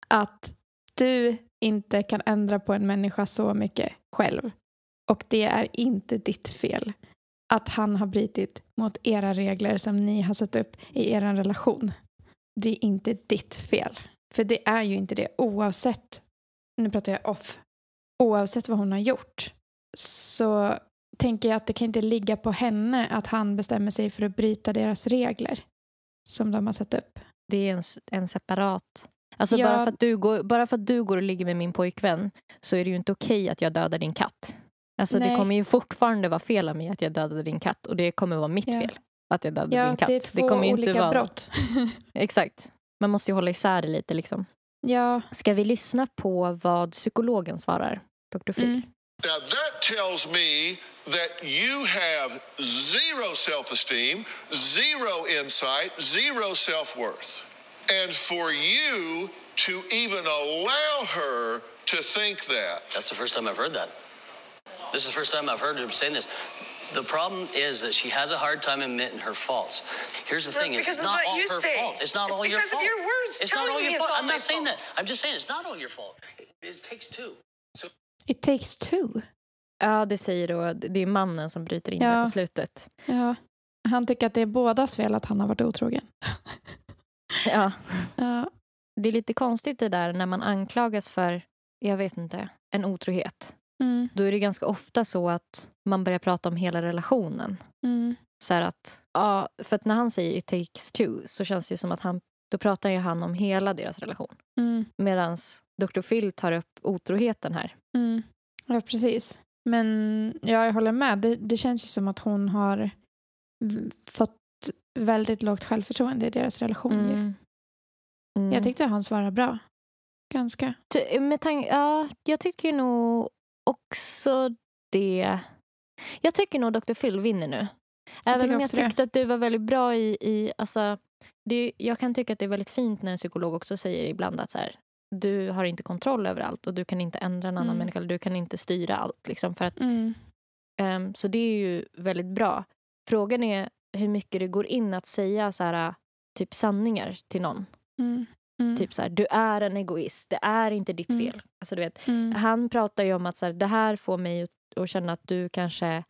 [SPEAKER 3] att du inte kan ändra på en människa så mycket själv. Och det är inte ditt fel att han har brutit mot era regler som ni har satt upp i er relation. Det är inte ditt fel. För det är ju inte det oavsett, nu pratar jag off, oavsett vad hon har gjort så tänker jag att det kan inte ligga på henne att han bestämmer sig för att bryta deras regler som de har satt upp.
[SPEAKER 2] Det är en, s- en separat... Alltså
[SPEAKER 3] Ja.
[SPEAKER 2] bara, för att du går, bara för att du går och ligger med min pojkvän så är det ju inte okej att jag dödar din katt. Alltså Det
[SPEAKER 3] Nej.
[SPEAKER 2] kommer ju fortfarande vara fel av mig att jag dödade din katt och det kommer vara mitt
[SPEAKER 3] Ja.
[SPEAKER 2] fel att jag dödade
[SPEAKER 3] Ja,
[SPEAKER 2] din katt.
[SPEAKER 3] det är två
[SPEAKER 2] kommer ju
[SPEAKER 3] olika
[SPEAKER 2] vara-
[SPEAKER 3] brott.
[SPEAKER 2] Exakt. Man måste ju hålla isär det lite. Liksom.
[SPEAKER 3] ja.
[SPEAKER 2] Ska vi lyssna på vad psykologen svarar? Dr. Phil.
[SPEAKER 3] Mm.
[SPEAKER 6] Now that tells me that you have zero self esteem, zero insight, zero self worth. And for you to even allow her to think that,
[SPEAKER 7] That's the first time I've heard that. This is the first time I've heard him saying this. The problem is that she has a hard time admitting her faults. Here's the
[SPEAKER 5] That's
[SPEAKER 7] thing: it's
[SPEAKER 5] because of
[SPEAKER 7] not
[SPEAKER 5] what
[SPEAKER 7] all
[SPEAKER 5] you
[SPEAKER 7] her
[SPEAKER 5] say.
[SPEAKER 7] fault. It's not
[SPEAKER 5] It's
[SPEAKER 7] all your
[SPEAKER 5] because of
[SPEAKER 7] fault.
[SPEAKER 5] your words
[SPEAKER 7] It's not
[SPEAKER 5] telling
[SPEAKER 7] all
[SPEAKER 5] me
[SPEAKER 7] your
[SPEAKER 5] it's
[SPEAKER 7] fault.
[SPEAKER 5] all
[SPEAKER 7] I'm
[SPEAKER 5] my
[SPEAKER 7] not saying
[SPEAKER 5] fault.
[SPEAKER 7] that. I'm just saying it's not all your fault. It, it takes two.
[SPEAKER 2] It takes two. Ja, det säger då, det är mannen som bryter in
[SPEAKER 3] Ja.
[SPEAKER 2] där på slutet.
[SPEAKER 3] Ja. Han tycker att det är bådas fel att han har varit otrogen.
[SPEAKER 2] Ja.
[SPEAKER 3] Ja.
[SPEAKER 2] Det är lite konstigt det där när man anklagas för, jag vet inte, en otrohet.
[SPEAKER 3] Mm.
[SPEAKER 2] Då är det ganska ofta så att man börjar prata om hela relationen.
[SPEAKER 3] Mm.
[SPEAKER 2] Så här att, ja, för att när han säger it takes two så känns det ju som att han, då pratar ju han om hela deras relation.
[SPEAKER 3] Mm.
[SPEAKER 2] Medan Dr. Phil tar upp otroheten här.
[SPEAKER 3] Mm. Ja, precis. Men ja, jag håller med. Det, det känns ju som att hon har v- fått väldigt lågt självförtroende i deras relation. ju.
[SPEAKER 2] Mm.
[SPEAKER 3] Jag tyckte han svarade bra. Ganska.
[SPEAKER 2] Ty- Med tanke, ja, jag tycker ju nog också det. Jag tycker nog Dr. Phil vinner nu. Även
[SPEAKER 3] tycker
[SPEAKER 2] om jag
[SPEAKER 3] också det.
[SPEAKER 2] tyckte att du var väldigt bra i... i alltså, det, jag kan tycka att det är väldigt fint när en psykolog också säger ibland att så här, du har inte kontroll över allt och du kan inte ändra en annan
[SPEAKER 3] Mm.
[SPEAKER 2] människa. Eller du kan inte styra allt. Liksom, för att,
[SPEAKER 3] Mm.
[SPEAKER 2] ehm, så det är ju väldigt bra. Frågan är hur mycket det går in att säga så här, typ sanningar till någon.
[SPEAKER 3] Mm. Mm.
[SPEAKER 2] Typ så här, du är en egoist. Det är inte ditt
[SPEAKER 3] Mm.
[SPEAKER 2] fel. Alltså, du vet,
[SPEAKER 3] Mm.
[SPEAKER 2] han pratar ju om att så här, det här får mig att, att känna att du kanske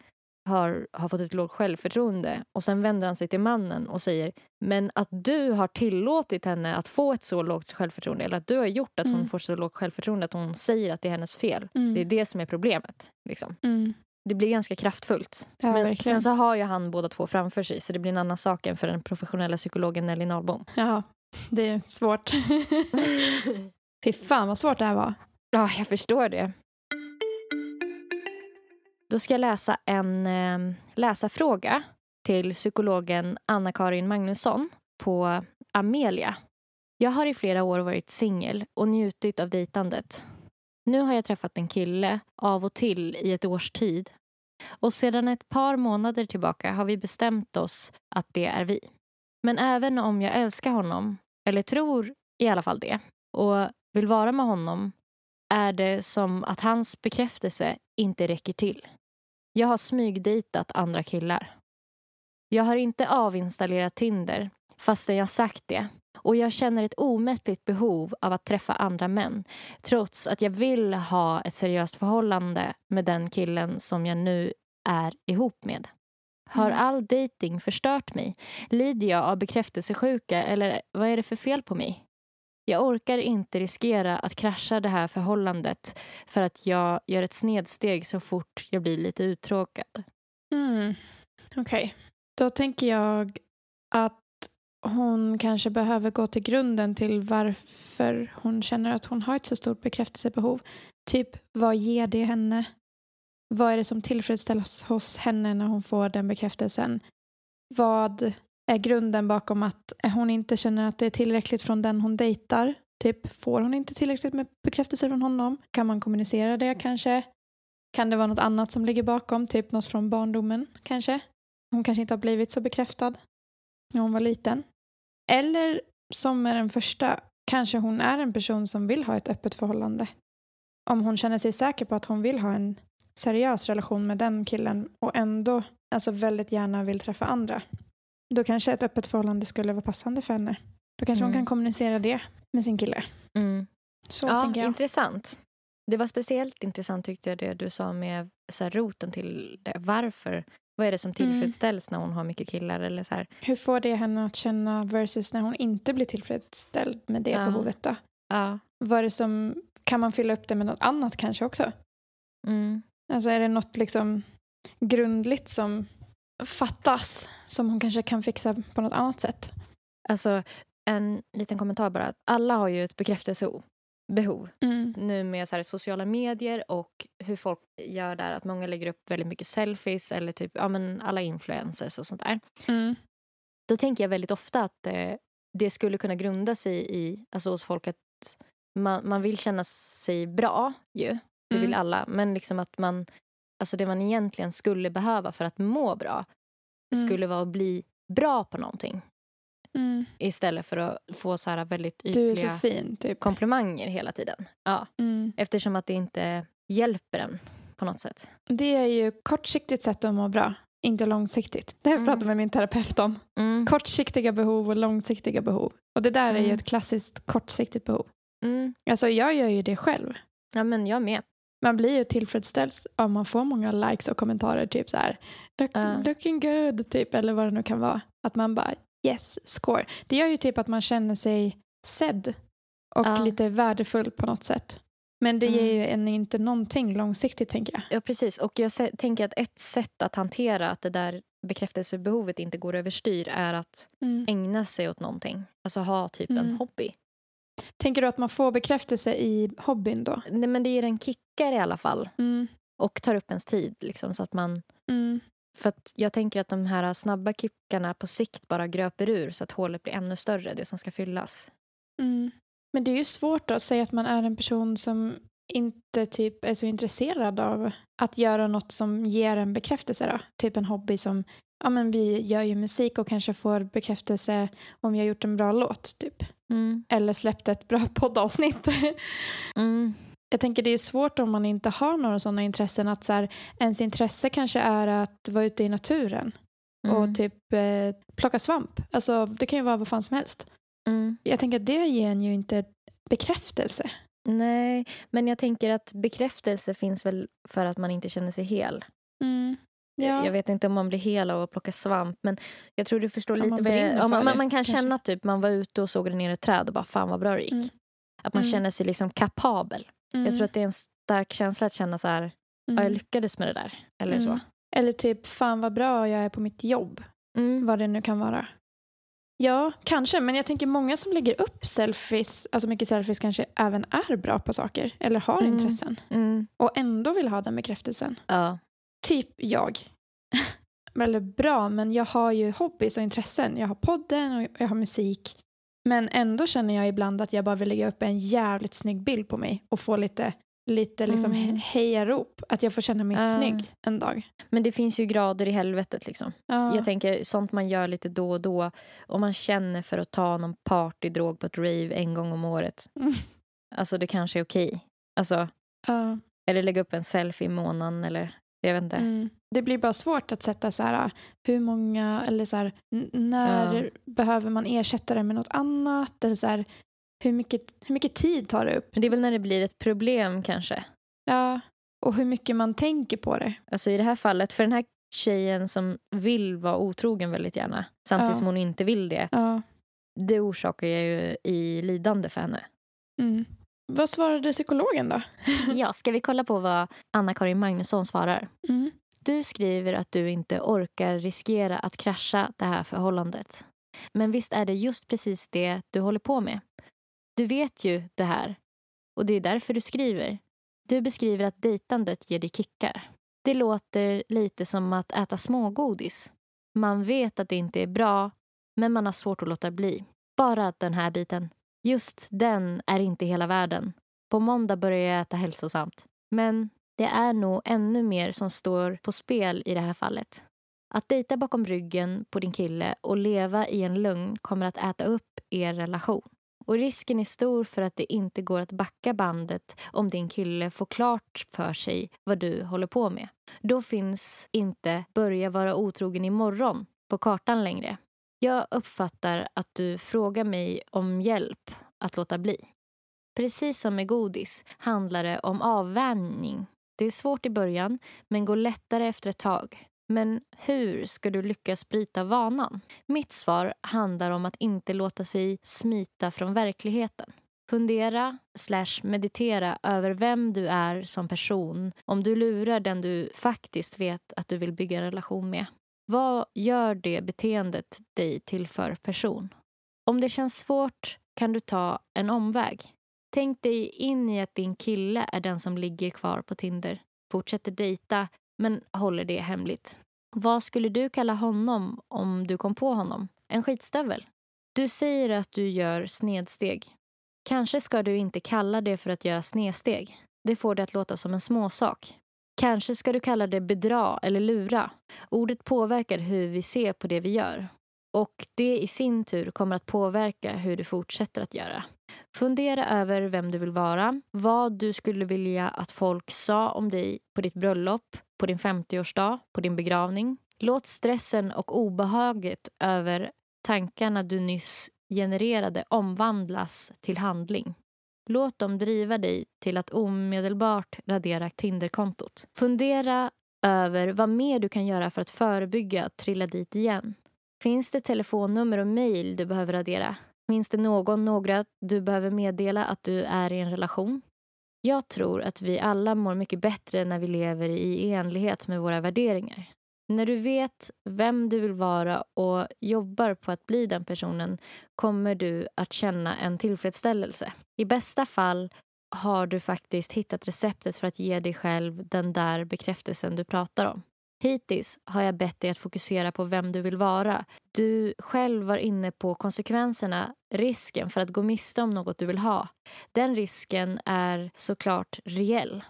[SPEAKER 2] har, har fått ett lågt självförtroende. Och sen vänder han sig till mannen och säger men att du har tillåtit henne att få ett så lågt självförtroende eller att du har gjort att
[SPEAKER 3] Mm.
[SPEAKER 2] hon får så lågt självförtroende att hon säger att det är hennes fel.
[SPEAKER 3] Mm.
[SPEAKER 2] Det är det som är problemet. Liksom.
[SPEAKER 3] Mm.
[SPEAKER 2] Det blir ganska kraftfullt.
[SPEAKER 3] Ja,
[SPEAKER 2] men
[SPEAKER 3] verkligen.
[SPEAKER 2] sen så har ju han båda två framför sig så det blir en annan sak än för den professionella psykologen Nelly Norrbom.
[SPEAKER 3] Ja, det är svårt. Fy fan vad svårt det här var.
[SPEAKER 2] Ja, jag förstår det. Då ska jag läsa en eh, läsarfråga till psykologen Anna-Karin Magnusson på Amelia. Jag har i flera år varit singel och njutit av dejtandet. Nu har jag träffat en kille av och till i ett års tid och sedan ett par månader tillbaka har vi bestämt oss att det är vi. Men även om jag älskar honom, eller tror i alla fall det, och vill vara med honom är det som att hans bekräftelse inte räcker till. Jag har smygdejtat andra killar. Jag har inte avinstallerat Tinder fastän jag sagt det och jag känner ett omättligt behov av att träffa andra män trots att jag vill ha ett seriöst förhållande med den killen som jag nu är ihop med. Har all dating förstört mig? Lider jag av bekräftelsesjuka eller vad är det för fel på mig? Jag orkar inte riskera att krascha det här förhållandet för att jag gör ett snedsteg så fort jag blir lite uttråkad.
[SPEAKER 3] Mm. Okej. Då tänker jag att hon kanske behöver gå till grunden till varför hon känner att hon har ett så stort bekräftelsebehov. Typ, vad ger det henne? Vad är det som tillfredsställs hos henne när hon får den bekräftelsen? Vad är grunden bakom att hon inte känner att det är tillräckligt från den hon dejtar? Typ, får hon inte tillräckligt med bekräftelse från honom? Kan man kommunicera det kanske? Kan det vara något annat som ligger bakom? Typ något från barndomen kanske? Hon kanske inte har blivit så bekräftad när hon var liten. Eller som med den första, kanske hon är en person som vill ha ett öppet förhållande. Om hon känner sig säker på att hon vill ha en seriös relation med den killen och ändå alltså väldigt gärna vill träffa andra. Då kanske ett öppet förhållande skulle vara passande för henne. Då kanske hon
[SPEAKER 2] Mm.
[SPEAKER 3] kan kommunicera det med sin kille. Mm. Så
[SPEAKER 2] Ja,
[SPEAKER 3] tänker jag.
[SPEAKER 2] intressant. Det var speciellt intressant tyckte jag det du sa med så här, roten till det. Varför? Vad är det som
[SPEAKER 3] Mm.
[SPEAKER 2] tillfredsställs när hon har mycket killar? Eller så här?
[SPEAKER 3] Hur får det henne att känna versus när hon inte blir tillfredsställd med det
[SPEAKER 2] Ja.
[SPEAKER 3] behovet då?
[SPEAKER 2] Ja.
[SPEAKER 3] Vad är det som, kan man fylla upp det med något annat kanske också?
[SPEAKER 2] Mm.
[SPEAKER 3] Alltså är det något liksom grundligt som fattas som hon kanske kan fixa på något annat sätt?
[SPEAKER 2] Alltså, en liten kommentar bara. Alla har ju ett bekräftelsebehov.
[SPEAKER 3] Mm.
[SPEAKER 2] nu med så här sociala medier och hur folk gör där. Att många lägger upp väldigt mycket selfies eller typ, ja, men alla influencers och sånt där.
[SPEAKER 3] Mm.
[SPEAKER 2] Då tänker jag väldigt ofta att eh, det skulle kunna grunda sig i, alltså hos folk att man, man vill känna sig bra ju. Det
[SPEAKER 3] Mm.
[SPEAKER 2] vill alla. Men liksom att man Alltså det man egentligen skulle behöva för att må bra
[SPEAKER 3] Mm.
[SPEAKER 2] skulle vara att bli bra på någonting
[SPEAKER 3] Mm.
[SPEAKER 2] istället för att få så här väldigt
[SPEAKER 3] Du är så
[SPEAKER 2] ytliga
[SPEAKER 3] fin, typ.
[SPEAKER 2] komplimanger hela tiden. Ja,
[SPEAKER 3] Mm.
[SPEAKER 2] eftersom att det inte hjälper en på något sätt.
[SPEAKER 3] Det är ju kortsiktigt sätt att må bra, inte långsiktigt. Det här
[SPEAKER 2] Mm.
[SPEAKER 3] pratade jag med min terapeut om.
[SPEAKER 2] Mm.
[SPEAKER 3] Kortsiktiga behov och långsiktiga behov. Och det där är ju
[SPEAKER 2] Mm.
[SPEAKER 3] ett klassiskt kortsiktigt behov.
[SPEAKER 2] Mm.
[SPEAKER 3] Alltså jag gör ju det själv.
[SPEAKER 2] Ja, men jag med.
[SPEAKER 3] Man blir ju tillfredsställd om man får många likes och kommentarer, typ så här "Look-
[SPEAKER 2] Ja.
[SPEAKER 3] looking good, typ, eller vad det nu kan vara. Att man bara yes, score. Det gör ju typ att man känner sig sedd och
[SPEAKER 2] Ja.
[SPEAKER 3] lite värdefull på något sätt. Men det
[SPEAKER 2] Mm.
[SPEAKER 3] ger ju en inte någonting långsiktigt, tänker jag.
[SPEAKER 2] Ja, precis. Och jag se- tänker att ett sätt att hantera att det där bekräftelsebehovet inte går överstyr är att ägna sig åt någonting. Alltså ha typ en
[SPEAKER 3] Mm.
[SPEAKER 2] hobby.
[SPEAKER 3] Tänker du att man får bekräftelse i hobbyn då?
[SPEAKER 2] Nej, men det ger en kickar i alla fall
[SPEAKER 3] Mm.
[SPEAKER 2] och tar upp ens tid. Liksom, så att man,
[SPEAKER 3] Mm.
[SPEAKER 2] för att jag tänker att de här snabba kickarna på sikt bara gröper ur så att hålet blir ännu större, det som ska fyllas.
[SPEAKER 3] Mm. Men det är ju svårt att säga att man är en person som inte typ är så intresserad av att göra något som ger en bekräftelse då. Typ en hobby som, ja men vi gör ju musik och kanske får bekräftelse om jag gjort en bra låt typ.
[SPEAKER 2] Mm.
[SPEAKER 3] Eller släppt ett bra poddavsnitt.
[SPEAKER 2] Mm.
[SPEAKER 3] Jag tänker det är svårt om man inte har några sådana intressen att så här, ens intresse kanske är att vara ute i naturen
[SPEAKER 2] Mm.
[SPEAKER 3] och typ eh, plocka svamp. Alltså det kan ju vara vad fan som helst.
[SPEAKER 2] Mm.
[SPEAKER 3] Jag tänker att det ger en ju inte bekräftelse.
[SPEAKER 2] Nej, men jag tänker att bekräftelse finns väl för att man inte känner sig hel.
[SPEAKER 3] Mm.
[SPEAKER 2] Jag vet inte om man blir hel av att plocka svamp, men jag tror du förstår
[SPEAKER 3] Om
[SPEAKER 2] lite.
[SPEAKER 3] man
[SPEAKER 2] vad jag,
[SPEAKER 3] brinner
[SPEAKER 2] ja, man,
[SPEAKER 3] för
[SPEAKER 2] man,
[SPEAKER 3] det,
[SPEAKER 2] man kan
[SPEAKER 3] kanske.
[SPEAKER 2] känna typ man var ute och såg ner i ett träd och bara fan vad bra det gick.
[SPEAKER 3] Mm.
[SPEAKER 2] Att man
[SPEAKER 3] Mm.
[SPEAKER 2] känner sig liksom kapabel.
[SPEAKER 3] Mm.
[SPEAKER 2] Jag tror att det är en stark känsla att känna så här, ja, jag
[SPEAKER 3] Mm.
[SPEAKER 2] lyckades med det där. Eller
[SPEAKER 3] Mm.
[SPEAKER 2] så.
[SPEAKER 3] Eller typ, fan vad bra jag är på mitt jobb.
[SPEAKER 2] Mm.
[SPEAKER 3] Vad det nu kan vara. Ja, kanske. Men jag tänker många som lägger upp selfies, alltså mycket selfies kanske även är bra på saker. Eller har
[SPEAKER 2] Mm.
[SPEAKER 3] intressen.
[SPEAKER 2] Mm.
[SPEAKER 3] Och ändå vill ha den bekräftelsen.
[SPEAKER 2] Ja.
[SPEAKER 3] Typ jag. Väldigt bra, men jag har ju hobbies och intressen. Jag har podden och jag har musik. Men ändå känner jag ibland att jag bara vill lägga upp en jävligt snygg bild på mig och få lite, lite liksom
[SPEAKER 2] Mm.
[SPEAKER 3] he- hejarop. Att jag får känna mig
[SPEAKER 2] Ja.
[SPEAKER 3] snygg en dag.
[SPEAKER 2] Men det finns ju grader i helvetet. Liksom.
[SPEAKER 3] Ja.
[SPEAKER 2] Jag tänker sånt man gör lite då och då. Om man känner för att ta någon partydrog på ett rave en gång om året.
[SPEAKER 3] Mm.
[SPEAKER 2] Alltså det kanske är okej. Alltså,
[SPEAKER 3] Ja.
[SPEAKER 2] eller lägga upp en selfie i månaden eller jag vet inte.
[SPEAKER 3] Mm. Det blir bara svårt att sätta så här, äh, hur många, eller så här, n- när
[SPEAKER 2] Ja.
[SPEAKER 3] behöver man ersätta det med något annat? Eller så här, hur, mycket, hur mycket tid tar det upp?
[SPEAKER 2] Men det är väl när det blir ett problem kanske.
[SPEAKER 3] Ja. Och hur mycket man tänker på det.
[SPEAKER 2] Alltså i det här fallet, för den här tjejen som vill vara otrogen väldigt gärna samtidigt
[SPEAKER 3] Ja.
[SPEAKER 2] som hon inte vill det.
[SPEAKER 3] Ja.
[SPEAKER 2] Det orsakar ju i lidande för henne.
[SPEAKER 3] Mm. Vad svarade psykologen då?
[SPEAKER 2] Ja, ska vi kolla på vad Anna-Karin Magnusson svarar?
[SPEAKER 3] Mm.
[SPEAKER 2] Du skriver att du inte orkar riskera att krascha det här förhållandet. Men visst är det just precis det du håller på med? Du vet ju det här. Och det är därför du skriver. Du beskriver att dejtandet ger dig kickar. Det låter lite som att äta smågodis. Man vet att det inte är bra, men man har svårt att låta bli. Bara att den här biten, just den är inte hela världen. På måndag börjar jag äta hälsosamt. Men det är nog ännu mer som står på spel i det här fallet. Att dejta bakom ryggen på din kille och leva i en lögn kommer att äta upp er relation. Och risken är stor för att det inte går att backa bandet om din kille får klart för sig vad du håller på med. Då finns inte börja vara otrogen imorgon på kartan längre. Jag uppfattar att du frågar mig om hjälp att låta bli. Precis som med godis handlar det om avvänjning. Det är svårt i början, men går lättare efter ett tag. Men hur ska du lyckas bryta vanan? Mitt svar handlar om att inte låta sig smita från verkligheten. Fundera slash meditera över vem du är som person om du lurar den du faktiskt vet att du vill bygga en relation med. Vad gör det beteendet dig till för person? Om det känns svårt kan du ta en omväg. Tänk dig in i att din kille är den som ligger kvar på Tinder. Fortsätter dejta, men håller det hemligt. Vad skulle du kalla honom om du kom på honom? En skitstövel? Du säger att du gör snedsteg. Kanske ska du inte kalla det för att göra snedsteg. Det får det att låta som en småsak. Kanske ska du kalla det bedra eller lura. Ordet påverkar hur vi ser på det vi gör. Och det i sin tur kommer att påverka hur du fortsätter att göra. Fundera över vem du vill vara, vad du skulle vilja att folk sa om dig på ditt bröllop, på din 50-årsdag, på din begravning. Låt stressen och obehaget över tankarna du nyss genererade omvandlas till handling. Låt dem driva dig till att omedelbart radera Tinderkontot. Fundera över vad mer du kan göra för att förebygga att trilla dit igen. Finns det telefonnummer och mejl du behöver radera? Finns det någon, några du behöver meddela att du är i en relation? Jag tror att vi alla mår mycket bättre när vi lever i enlighet med våra värderingar. När du vet vem du vill vara och jobbar på att bli den personen kommer du att känna en tillfredsställelse. I bästa fall har du faktiskt hittat receptet för att ge dig själv den där bekräftelsen du pratar om. Hittills har jag bett dig att fokusera på vem du vill vara. Du själv var inne på konsekvenserna, risken för att gå miste om något du vill ha. Den risken är såklart reell.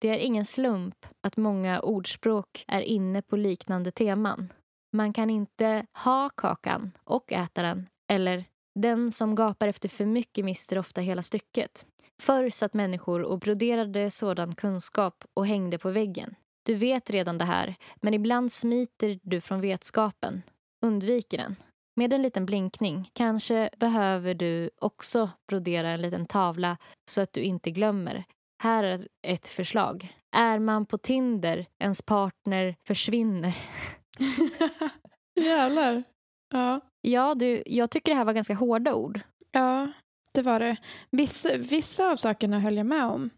[SPEAKER 2] Det är ingen slump att många ordspråk är inne på liknande teman. Man kan inte ha kakan och äta den. Eller den som gapar efter för mycket mister ofta hela stycket. Förr satt människor och broderade sådan kunskap och hängde på väggen. Du vet redan det här, men ibland smiter du från vetskapen, undviker den. Med en liten blinkning kanske behöver du också brodera en liten tavla så att du inte glömmer. Här är ett förslag. Är man på Tinder, ens partner försvinner.
[SPEAKER 3] Jävlar. Ja.
[SPEAKER 2] Ja, du, jag tycker det här var ganska hårda ord.
[SPEAKER 3] ja, det var det. Vissa, vissa av sakerna höll jag med om.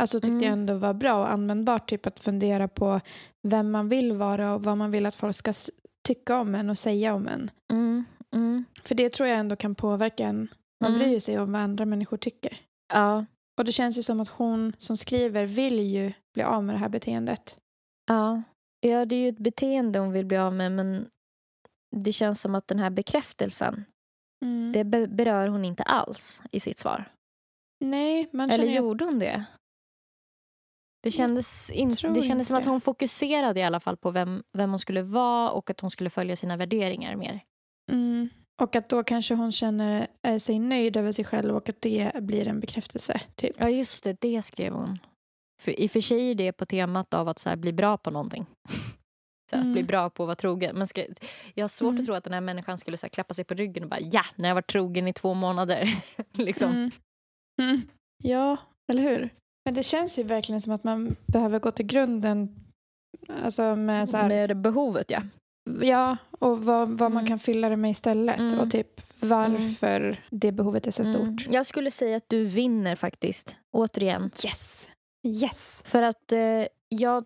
[SPEAKER 3] Alltså tyckte
[SPEAKER 2] Mm.
[SPEAKER 3] jag ändå var bra och användbart. Typ att fundera på vem man vill vara och vad man vill att folk ska s- tycka om en och säga om en.
[SPEAKER 2] Mm, mm,
[SPEAKER 3] För det tror jag ändå kan påverka en. Man
[SPEAKER 2] Mm.
[SPEAKER 3] bryr ju sig om vad andra människor tycker.
[SPEAKER 2] ja,
[SPEAKER 3] Och det känns ju som att hon som skriver vill ju bli av med det här beteendet.
[SPEAKER 2] ja. Ja, det är ju ett beteende hon vill bli av med men det känns som att den här bekräftelsen,
[SPEAKER 3] Mm.
[SPEAKER 2] det be- berör hon inte alls i sitt svar.
[SPEAKER 3] Nej, man
[SPEAKER 2] Eller
[SPEAKER 3] känner ju att-
[SPEAKER 2] gjorde hon det? Det kändes, in,
[SPEAKER 3] tror
[SPEAKER 2] det kändes som
[SPEAKER 3] inte.
[SPEAKER 2] att hon fokuserade i alla fall på vem, vem hon skulle vara och att hon skulle följa sina värderingar mer.
[SPEAKER 3] Mm. Och att då kanske hon känner eh, sig nöjd över sig själv och att det blir en bekräftelse. Typ.
[SPEAKER 2] Ja, just det. Det skrev hon. För, I och för sig är det på temat av att så här, bli bra på någonting. Så här, Att bli
[SPEAKER 3] Mm.
[SPEAKER 2] bra på att vara trogen. Men ska, jag har svårt
[SPEAKER 3] Mm.
[SPEAKER 2] att tro att den här människan skulle så här, klappa sig på ryggen och bara ja, nu har jag varit trogen i två månader. liksom.
[SPEAKER 3] Mm. Mm. Ja, eller hur? Men det känns ju verkligen som att man behöver gå till grunden alltså med så här,
[SPEAKER 2] Med det behovet, ja.
[SPEAKER 3] ja, och vad, vad man
[SPEAKER 2] Mm.
[SPEAKER 3] kan fylla det med istället
[SPEAKER 2] Mm.
[SPEAKER 3] och typ varför det behovet är så stort.
[SPEAKER 2] Mm. Jag skulle säga att du vinner faktiskt. Återigen.
[SPEAKER 3] Yes! Yes!
[SPEAKER 2] För att eh, jag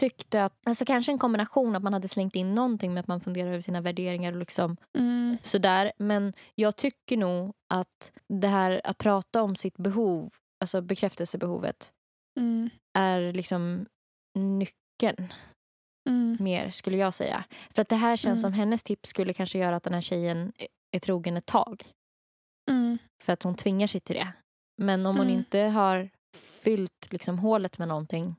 [SPEAKER 2] tyckte att, alltså kanske en kombination att man hade slängt in någonting med att man funderar över sina värderingar och liksom
[SPEAKER 3] Mm.
[SPEAKER 2] sådär. Men jag tycker nog att det här att prata om sitt behov, alltså bekräftelsebehovet,
[SPEAKER 3] Mm.
[SPEAKER 2] är liksom nyckeln
[SPEAKER 3] Mm.
[SPEAKER 2] mer skulle jag säga. För att det här känns som
[SPEAKER 3] Mm.
[SPEAKER 2] hennes tips skulle kanske göra att den här tjejen är- är trogen ett tag.
[SPEAKER 3] Mm.
[SPEAKER 2] För att hon tvingar sig till det. Men om hon
[SPEAKER 3] Mm.
[SPEAKER 2] inte har fyllt liksom hålet med någonting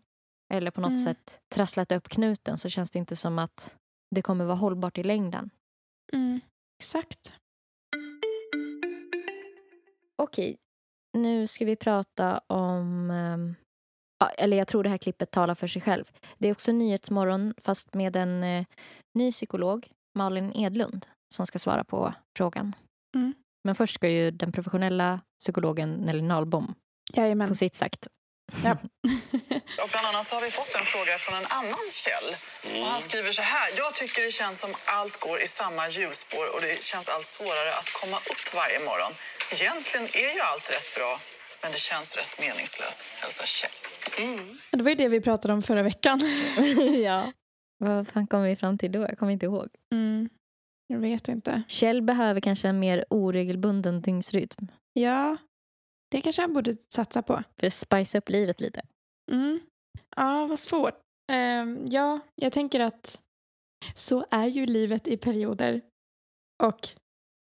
[SPEAKER 2] eller på något
[SPEAKER 3] Mm.
[SPEAKER 2] sätt trasslat upp knuten så känns det inte som att det kommer vara hållbart i längden.
[SPEAKER 3] Mm. Exakt.
[SPEAKER 2] Okej, nu ska vi prata om... ehm, ja, eller jag tror det här klippet talar för sig själv. Det är också Nyhetsmorgon fast med en eh, ny psykolog, Malin Edlund, som ska svara på frågan.
[SPEAKER 3] Mm.
[SPEAKER 2] Men först ska ju den professionella psykologen Nelly Nahlbom
[SPEAKER 3] Jajamän.
[SPEAKER 2] få sitt sagt.
[SPEAKER 3] Ja.
[SPEAKER 8] Och bland annat så har vi fått en fråga från en annan Kjell. Och han skriver så här. Jag tycker det känns som allt går i samma hjulspår och det känns allt svårare att komma upp varje morgon. Egentligen är ju allt rätt bra, men det känns rätt meningslöst. Hälsa Kjell.
[SPEAKER 3] Det var ju det vi pratade om förra veckan.
[SPEAKER 2] ja. Vad fan kom vi fram till då? Jag kommer inte ihåg.
[SPEAKER 3] Mm. Jag vet inte.
[SPEAKER 2] Kjell behöver kanske en mer oregelbunden dygnsrytm
[SPEAKER 3] Ja, det kanske han borde satsa på.
[SPEAKER 2] för att spicea upp livet lite.
[SPEAKER 3] Mm. Ja, vad svårt. Ehm, ja, jag tänker att så är ju livet i perioder. Och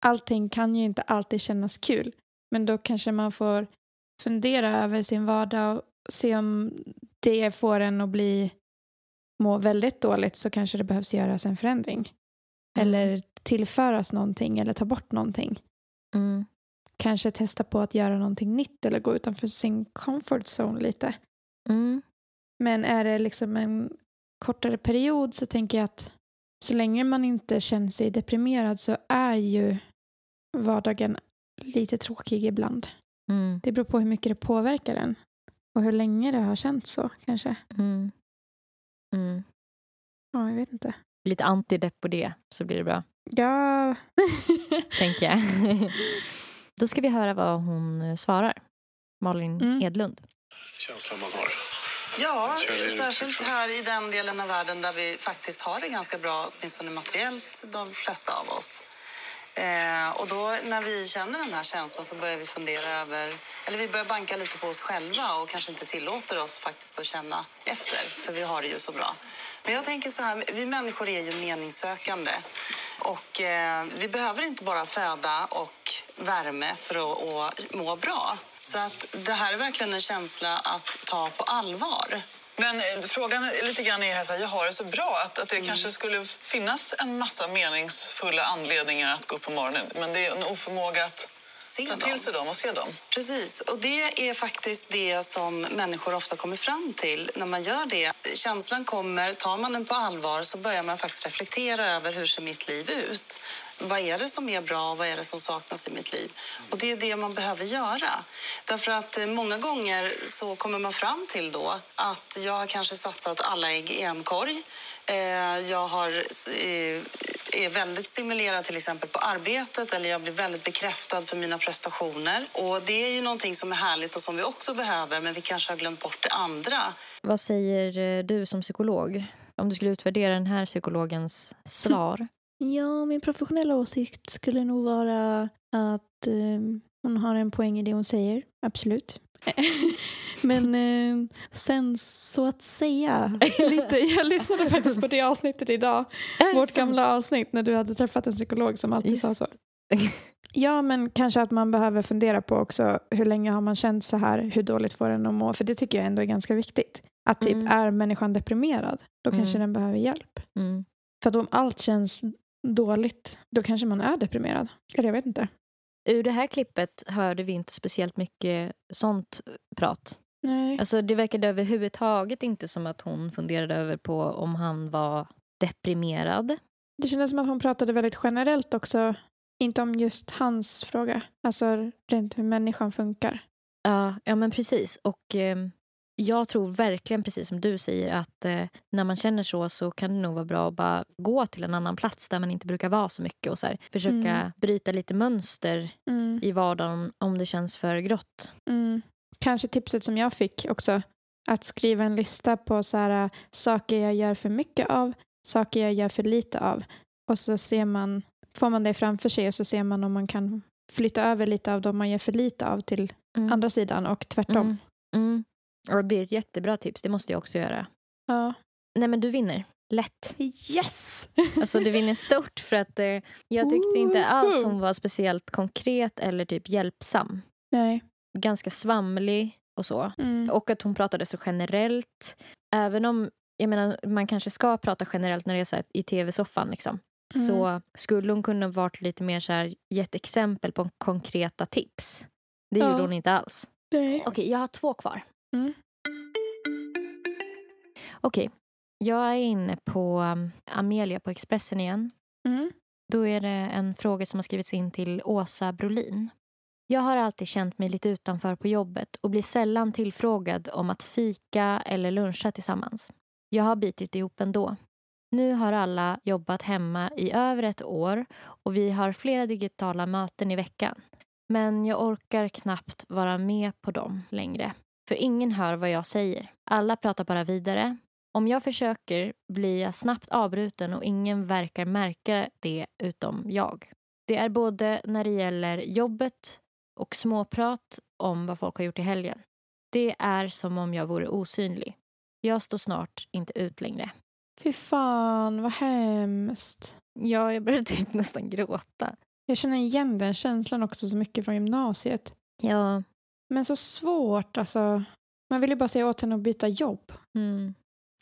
[SPEAKER 3] allting kan ju inte alltid kännas kul. Men då kanske man får fundera över sin vardag och se om det får en att bli må väldigt dåligt så kanske det behövs göras en förändring. Eller tillföras någonting eller ta bort någonting.
[SPEAKER 2] Mm.
[SPEAKER 3] Kanske testa på att göra någonting nytt eller gå utanför sin comfort zone lite.
[SPEAKER 2] Mm.
[SPEAKER 3] Men är det liksom en kortare period så tänker jag att så länge man inte känner sig deprimerad så är ju vardagen lite tråkig ibland.
[SPEAKER 2] Mm.
[SPEAKER 3] Det beror på hur mycket det påverkar en och hur länge det har känts så kanske.
[SPEAKER 2] Mm. Mm.
[SPEAKER 3] Ja, jag vet inte.
[SPEAKER 2] Lite antidepp på det så blir det bra,
[SPEAKER 3] Ja,
[SPEAKER 2] tänker jag. Då ska vi höra vad hon eh, svarar. Malin
[SPEAKER 3] Mm.
[SPEAKER 2] Edlund.
[SPEAKER 4] känslan man har.
[SPEAKER 8] Ja,
[SPEAKER 4] Jag känner
[SPEAKER 8] särskilt
[SPEAKER 4] utifrån.
[SPEAKER 8] här i den delen av världen där vi faktiskt har det ganska bra, åtminstone materiellt, de flesta av oss. Eh, och då när vi känner den här känslan så börjar vi fundera över, eller vi börjar banka lite på oss själva och kanske inte tillåter oss faktiskt att känna efter, för vi har det ju så bra. Men jag tänker så här, vi människor är ju meningssökande och eh, vi behöver inte bara föda och värme för att, att må bra. Så att det här är verkligen en känsla att ta på allvar. Men eh, frågan är lite grann är här, så här, jag har det så bra att, att det kanske skulle finnas en massa meningsfulla anledningar att gå upp på morgonen. Men det är en oförmåga att ta till sig dem och se dem. Precis, och det är faktiskt det som människor ofta kommer fram till när man gör det. Känslan kommer, tar man den på allvar så börjar man faktiskt reflektera över hur ser mitt liv ut? Vad är det som är bra och vad är det som saknas i mitt liv? Och det är det man behöver göra. Därför att eh, många gånger så kommer man fram till då att jag har kanske satsat alla ägg i en korg. Eh, Jag har, s- eh, är väldigt stimulerad till exempel på arbetet eller jag blir väldigt bekräftad för mina prestationer. Och det är ju någonting som är härligt och som vi också behöver men vi kanske har glömt bort det andra.
[SPEAKER 2] Vad säger eh, du som psykolog? Om du skulle utvärdera den här psykologens svar.
[SPEAKER 3] Ja, min professionella åsikt skulle nog vara att eh, hon har en poäng i det hon säger, absolut. Men eh, sen så att säga, lite, jag lyssnade faktiskt på det avsnittet idag, vårt gamla avsnitt när du hade träffat en psykolog som alltid sa
[SPEAKER 2] Just
[SPEAKER 3] så. Ja, men kanske att man behöver fundera på också hur länge har man känt så här, hur dåligt får den att må, för det tycker jag ändå är ganska viktigt. Att typ,
[SPEAKER 2] Mm.
[SPEAKER 3] är människan deprimerad, då kanske
[SPEAKER 2] Mm.
[SPEAKER 3] den behöver hjälp.
[SPEAKER 2] Mm.
[SPEAKER 3] För att om allt känns dåligt, då kanske man är deprimerad. Eller jag vet inte.
[SPEAKER 2] Ur det här klippet hörde vi inte speciellt mycket sånt prat.
[SPEAKER 3] Nej.
[SPEAKER 2] Alltså det verkade överhuvudtaget inte som att hon funderade över på om han var deprimerad.
[SPEAKER 3] Det kändes som att hon pratade väldigt generellt också. Inte om just hans fråga. Alltså rent hur människan funkar.
[SPEAKER 2] Ja, ja men precis. Och ehm, jag tror verkligen, precis som du säger, att eh, när man känner så så kan det nog vara bra att bara gå till en annan plats där man inte brukar vara så mycket och så här, försöka
[SPEAKER 3] Mm.
[SPEAKER 2] bryta lite mönster
[SPEAKER 3] Mm,
[SPEAKER 2] i vardagen om det känns för grått.
[SPEAKER 3] mm. Kanske tipset som jag fick också. Att skriva en lista på så här, äh, saker jag gör för mycket av, saker jag gör för lite av. Och så ser man, får man det framför sig och så ser man om man kan flytta över lite av de man gör för lite av till
[SPEAKER 2] Mm.
[SPEAKER 3] andra sidan och tvärtom.
[SPEAKER 2] Mm. Mm. Och det är ett jättebra tips, det måste jag också göra.
[SPEAKER 3] Ja.
[SPEAKER 2] Nej men du vinner, lätt.
[SPEAKER 3] Yes!
[SPEAKER 2] Alltså du vinner stort för att eh, jag tyckte inte alls
[SPEAKER 3] Woho!
[SPEAKER 2] hon var speciellt konkret eller typ hjälpsam.
[SPEAKER 3] Nej.
[SPEAKER 2] Ganska svamlig och så.
[SPEAKER 3] Mm.
[SPEAKER 2] Och att hon pratade så generellt. Även om jag menar, man kanske ska prata generellt när det är så här, i tv-soffan liksom.
[SPEAKER 3] Mm.
[SPEAKER 2] Så skulle hon kunna varit lite mer så här, gett exempel på konkreta tips. Det
[SPEAKER 3] Ja.
[SPEAKER 2] gjorde hon inte alls.
[SPEAKER 3] Nej.
[SPEAKER 2] Okej, jag har två kvar.
[SPEAKER 3] Mm.
[SPEAKER 2] Okej, jag är inne på um, Amelia på Expressen igen.
[SPEAKER 3] Mm.
[SPEAKER 2] Då är det en fråga som har skrivits in till Åsa Brolin. Jag har alltid känt mig lite utanför på jobbet och blir sällan tillfrågad om att fika eller luncha tillsammans. Jag har bitit ihop ändå. Nu har alla jobbat hemma i över ett år och vi har flera digitala möten i veckan. Men jag orkar knappt vara med på dem längre. För ingen hör vad jag säger. Alla pratar bara vidare om jag försöker blir jag snabbt avbruten och ingen verkar märka det utom jag. Det är både när det gäller jobbet och småprat om vad folk har gjort i helgen. Det är som om jag vore osynlig. Jag står snart inte ut längre.
[SPEAKER 3] Fy fan, vad hemskt.
[SPEAKER 2] Ja, jag börjar typ nästan gråta.
[SPEAKER 3] Jag känner igen den känslan också så mycket från gymnasiet.
[SPEAKER 2] Ja.
[SPEAKER 3] Men så svårt alltså. Man vill ju bara säga åt henne att byta jobb.
[SPEAKER 2] Mm.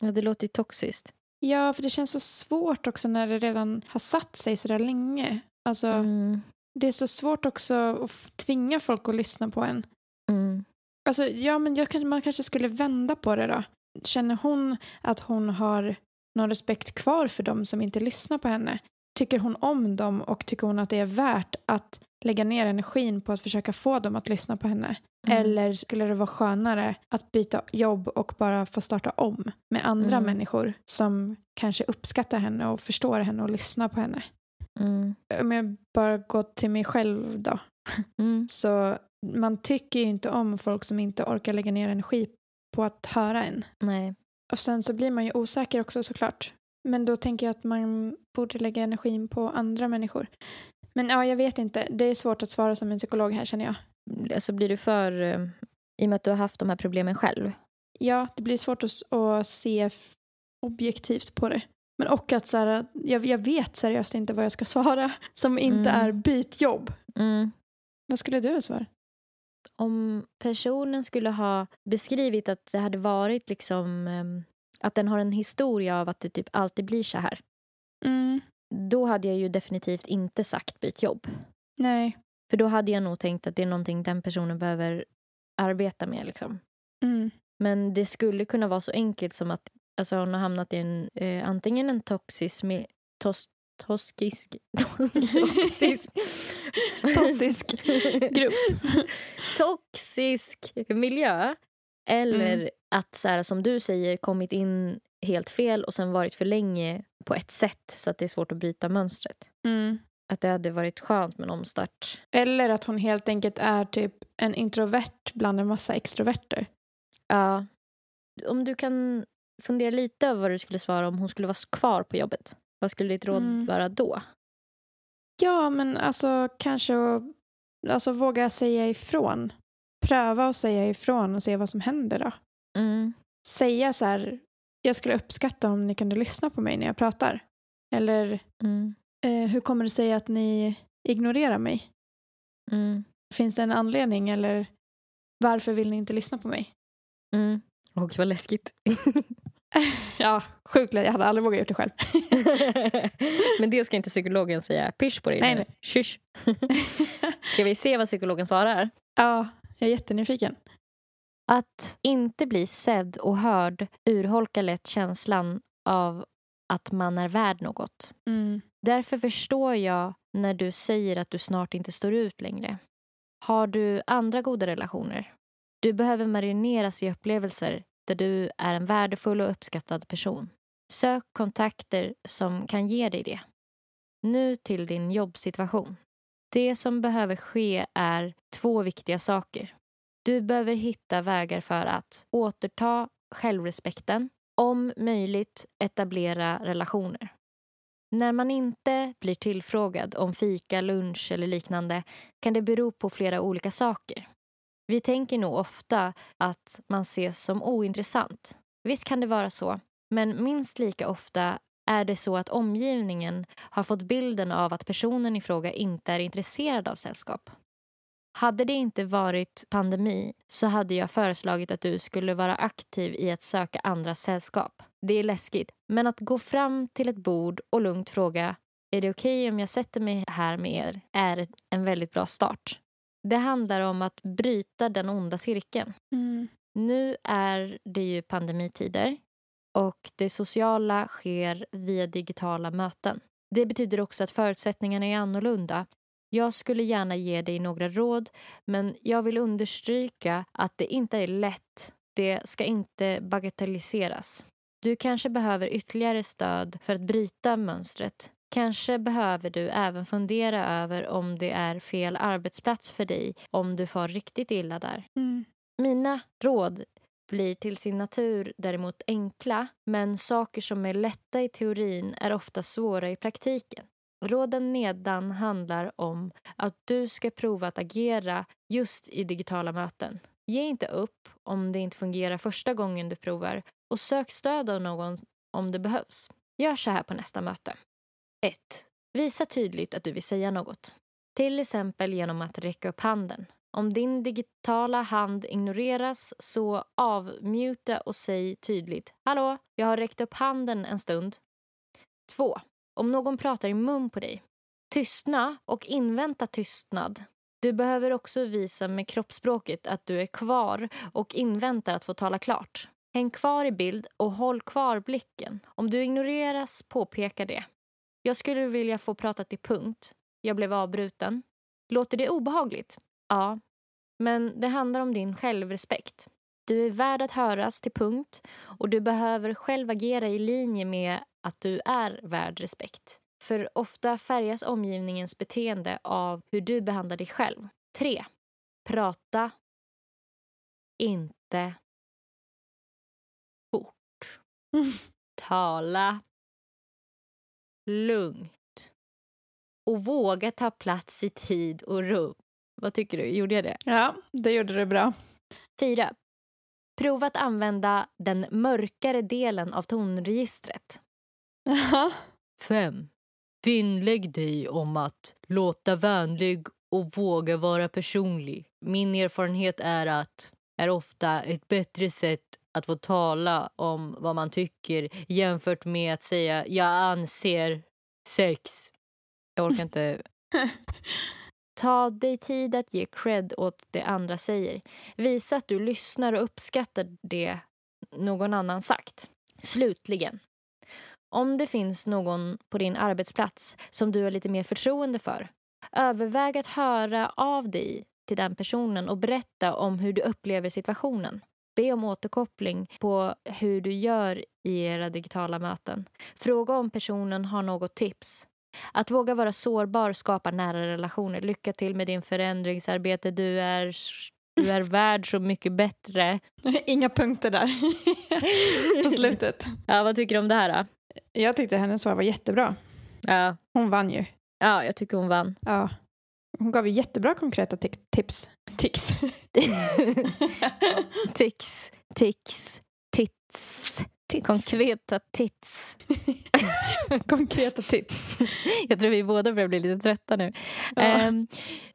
[SPEAKER 2] Ja, det låter ju toxiskt.
[SPEAKER 3] Ja, för det känns så svårt också när det redan har satt sig så där länge. Alltså,
[SPEAKER 2] Mm,
[SPEAKER 3] Det är så svårt också att f- tvinga folk att lyssna på en.
[SPEAKER 2] mm,
[SPEAKER 3] Alltså, ja, men jag, kanske- man kanske skulle vända på det då. Känner hon att hon har någon respekt kvar för dem som inte lyssnar på henne? Tycker hon om dem och tycker hon att det är värt att lägga ner energin på att försöka få dem att lyssna på henne?
[SPEAKER 2] Mm.
[SPEAKER 3] Eller skulle det vara skönare att byta jobb och bara få starta om med andra
[SPEAKER 2] Mm.
[SPEAKER 3] människor som kanske uppskattar henne och förstår henne och lyssnar på henne?
[SPEAKER 2] mm,
[SPEAKER 3] Om jag bara går till mig själv då.
[SPEAKER 2] mm.
[SPEAKER 3] Så man tycker ju inte om folk som inte orkar lägga ner energi på att höra en.
[SPEAKER 2] Nej.
[SPEAKER 3] Och sen så blir man ju osäker också såklart. Men då tänker jag att man borde lägga energin på andra människor. Men ja, jag vet inte. Det är svårt att svara som en psykolog här känner jag.
[SPEAKER 2] Alltså blir du för... eh, I och med att du har haft de här problemen själv.
[SPEAKER 3] Ja, det blir svårt att, s- att se f- objektivt på det. Men och att så här, jag, jag vet seriöst inte vad jag ska svara som inte
[SPEAKER 2] Mm.
[SPEAKER 3] är byt jobb.
[SPEAKER 2] Mm.
[SPEAKER 3] Vad skulle du svara?
[SPEAKER 2] om personen skulle ha beskrivit att det hade varit liksom ehm, att den har en historia av att det typ alltid blir så här.
[SPEAKER 3] Mm.
[SPEAKER 2] Då hade jag ju definitivt inte sagt byt jobb.
[SPEAKER 3] Nej.
[SPEAKER 2] För då hade jag nog tänkt att det är någonting den personen behöver arbeta med. Liksom.
[SPEAKER 3] Mm.
[SPEAKER 2] Men det skulle kunna vara så enkelt som att alltså, hon har hamnat i en, eh, antingen en toxisk... mi- Tos, toskisk... Toxisk...
[SPEAKER 3] Toxisk grupp.
[SPEAKER 2] toxisk miljö. Eller att, så här, som du säger, kommit in helt fel och sen varit för länge på ett sätt så att det är svårt att bryta mönstret.
[SPEAKER 3] Mm.
[SPEAKER 2] Att det hade varit skönt med en omstart.
[SPEAKER 3] Eller att hon helt enkelt är typ en introvert bland en massa extroverter.
[SPEAKER 2] Ja. Om du kan fundera lite över vad du skulle svara om hon skulle vara kvar på jobbet. Vad skulle ditt råd
[SPEAKER 3] Mm.
[SPEAKER 2] vara då?
[SPEAKER 3] Ja, men alltså kanske att- alltså, våga säga ifrån. Pröva att säga ifrån och se vad som händer då.
[SPEAKER 2] Mm.
[SPEAKER 3] Säga så här, jag skulle uppskatta om ni kunde lyssna på mig när jag pratar. Eller
[SPEAKER 2] Mm.
[SPEAKER 3] eh, hur kommer det sig att ni ignorerar mig?
[SPEAKER 2] Mm.
[SPEAKER 3] Finns det en anledning eller varför vill ni inte lyssna på mig?
[SPEAKER 2] Mm. Och vad läskigt.
[SPEAKER 3] Ja, sjukt lätt. Jag hade aldrig vågat gjort det själv.
[SPEAKER 2] Men det ska inte psykologen säga. Pysch på dig
[SPEAKER 3] Nej,
[SPEAKER 2] nu.
[SPEAKER 3] nej.
[SPEAKER 2] Kysch. Ska vi se vad psykologen svarar?
[SPEAKER 3] Ja, jag är jättenyfiken.
[SPEAKER 2] Att inte bli sedd och hörd urholkar lätt känslan av att man är värd något.
[SPEAKER 3] Mm.
[SPEAKER 2] Därför förstår jag när du säger att du snart inte står ut längre. Har du andra goda relationer? Du behöver marineras i upplevelser där du är en värdefull och uppskattad person. Sök kontakter som kan ge dig det. Nu till din jobbsituation. Det som behöver ske är två viktiga saker. Du behöver hitta vägar för att återta självrespekten, om möjligt etablera relationer. När man inte blir tillfrågad om fika, lunch eller liknande kan det bero på flera olika saker. Vi tänker nog ofta att man ses som ointressant. Visst kan det vara så, men minst lika ofta är det så att omgivningen har fått bilden av att personen i fråga inte är intresserad av sällskap. Hade det inte varit pandemi så hade jag föreslagit att du skulle vara aktiv i att söka andra sällskap. Det är läskigt, men att gå fram till ett bord och lugnt fråga är det okej om jag sätter mig här med er är ett- en väldigt bra start. Det handlar om att bryta den onda cirkeln.
[SPEAKER 3] Mm.
[SPEAKER 2] Nu är det ju pandemitider och det sociala sker via digitala möten. Det betyder också att förutsättningarna är annorlunda. Jag skulle gärna ge dig några råd men jag vill understryka att det inte är lätt. Det ska inte bagatelliseras. Du kanske behöver ytterligare stöd för att bryta mönstret. Kanske behöver du även fundera över om det är fel arbetsplats för dig om du far riktigt illa där.
[SPEAKER 3] Mm.
[SPEAKER 2] Mina råd blir till sin natur däremot enkla men saker som är lätta i teorin är ofta svåra i praktiken. Råden nedan handlar om att du ska prova att agera just i digitala möten. Ge inte upp om det inte fungerar första gången du provar och sök stöd av någon om det behövs. Gör så här på nästa möte. 1. Visa tydligt att du vill säga något. Till exempel genom att räcka upp handen. Om din digitala hand ignoreras så avmuta och säg tydligt Hallå, jag har räckt upp handen en stund. 2. Om någon pratar i mun på dig, tystna och invänta tystnad. Du behöver också visa med kroppsspråket att du är kvar och inväntar att få tala klart. Häng kvar i bild och håll kvar blicken. Om du ignoreras, påpeka det. Jag skulle vilja få prata till punkt. Jag blev avbruten. Låter det obehagligt? Ja. Men det handlar om din självrespekt. Du är värd att höras till punkt och du behöver själv agera i linje med att du är värd respekt. För ofta färgas omgivningens beteende av hur du behandlar dig själv. 3. Prata inte fort. Tala lugnt. Och våga ta plats i tid och rum. Vad tycker du? Gjorde jag det?
[SPEAKER 3] Ja, det gjorde du bra.
[SPEAKER 2] 4. Prova att använda den mörkare delen av tonregistret.
[SPEAKER 3] Jaha.
[SPEAKER 2] 5. Vinnlägg dig om att låta vänlig och våga vara personlig. Min erfarenhet är att är ofta ett bättre sätt att få tala om vad man tycker jämfört med att säga jag anser sex. Jag orkar inte. Ta dig tid att ge cred åt det andra säger. Visa att du lyssnar och uppskattar det någon annan sagt. Slutligen. Om det finns någon på din arbetsplats som du har lite mer förtroende för, överväg att höra av dig till den personen och berätta om hur du upplever situationen. Be om återkoppling på hur du gör i era digitala möten. Fråga om personen har något tips. Att våga vara sårbar skapar nära relationer. Lycka till med din förändringsarbete. Du är, du är värd så mycket bättre.
[SPEAKER 3] Inga punkter där på slutet.
[SPEAKER 2] Ja, vad tycker du om det här? Då?
[SPEAKER 3] Jag tyckte hennes svar var jättebra.
[SPEAKER 2] Ja.
[SPEAKER 3] Hon vann ju.
[SPEAKER 2] ja, jag tycker hon vann.
[SPEAKER 3] Ja. Hon gav ju jättebra konkreta ti- tips. Tics.
[SPEAKER 2] Tics, tics, tits. Konkreta tits.
[SPEAKER 3] konkreta tips.
[SPEAKER 2] Jag tror vi båda börjar bli lite trötta nu.
[SPEAKER 3] Ja.
[SPEAKER 2] Ehm,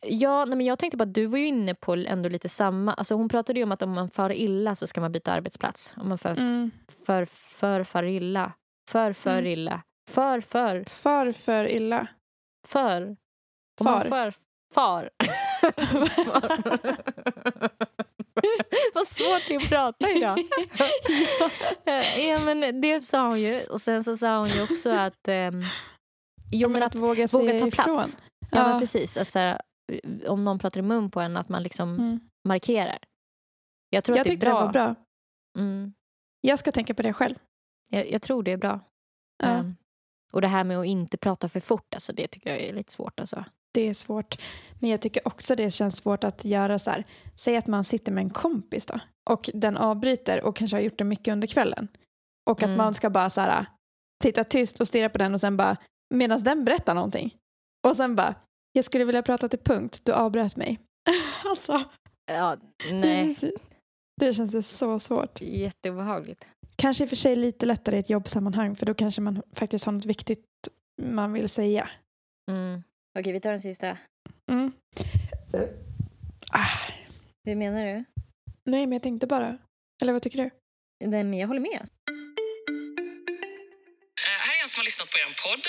[SPEAKER 2] ja, nej, men jag tänkte på att du var ju inne på ändå lite samma. Alltså, hon pratade ju om att om man far illa så ska man byta arbetsplats. Om man för,
[SPEAKER 3] Mm.
[SPEAKER 2] för, för, far illa. För, för
[SPEAKER 3] Mm.
[SPEAKER 2] illa. För, för,
[SPEAKER 3] För för illa.
[SPEAKER 2] för. Om man
[SPEAKER 3] Far.
[SPEAKER 2] för, far. Vad svårt det är att prata idag. ja, men det sa hon ju. Och sen så sa hon ju också att... ehm, jo, men att
[SPEAKER 3] våga,
[SPEAKER 2] våga
[SPEAKER 3] säga
[SPEAKER 2] ta
[SPEAKER 3] ifrån.
[SPEAKER 2] plats. Ja,
[SPEAKER 3] Ja.
[SPEAKER 2] men precis. Att så här, om någon pratar i mun på en, att man liksom
[SPEAKER 3] Mm.
[SPEAKER 2] markerar. Jag tror
[SPEAKER 3] Jag,
[SPEAKER 2] att det är
[SPEAKER 3] tyckte det
[SPEAKER 2] bra.
[SPEAKER 3] var bra.
[SPEAKER 2] Mm,
[SPEAKER 3] Jag ska tänka på det själv.
[SPEAKER 2] jag, jag tror det är bra.
[SPEAKER 3] Ja.
[SPEAKER 2] Ehm, och det här med att inte prata för fort, alltså, det tycker jag är lite svårt. Alltså.
[SPEAKER 3] Det är svårt. Men jag tycker också det känns svårt att göra så här. Säg att man sitter med en kompis då. Och den avbryter och kanske har gjort det mycket under kvällen. Och att
[SPEAKER 2] Mm.
[SPEAKER 3] man ska bara så här. Sitta tyst och stirra på den och sen bara. Medan den berättar någonting. Och sen bara. Jag skulle vilja prata till punkt. Du avbröt mig. alltså.
[SPEAKER 2] Ja,
[SPEAKER 3] Det,
[SPEAKER 2] nej.
[SPEAKER 3] känns, det känns ju så svårt.
[SPEAKER 2] Jätteobehagligt.
[SPEAKER 3] Kanske i och för sig lite lättare i ett jobbsammanhang. För då kanske man faktiskt har något viktigt man vill säga.
[SPEAKER 2] Mm. Okej, vi tar den sista.
[SPEAKER 3] Mm. Ah,
[SPEAKER 2] Hur menar du?
[SPEAKER 3] nej men jag tänkte bara. Eller vad tycker du?
[SPEAKER 2] Nej, men jag håller med.
[SPEAKER 9] Eh, Här är en som har lyssnat på er podd.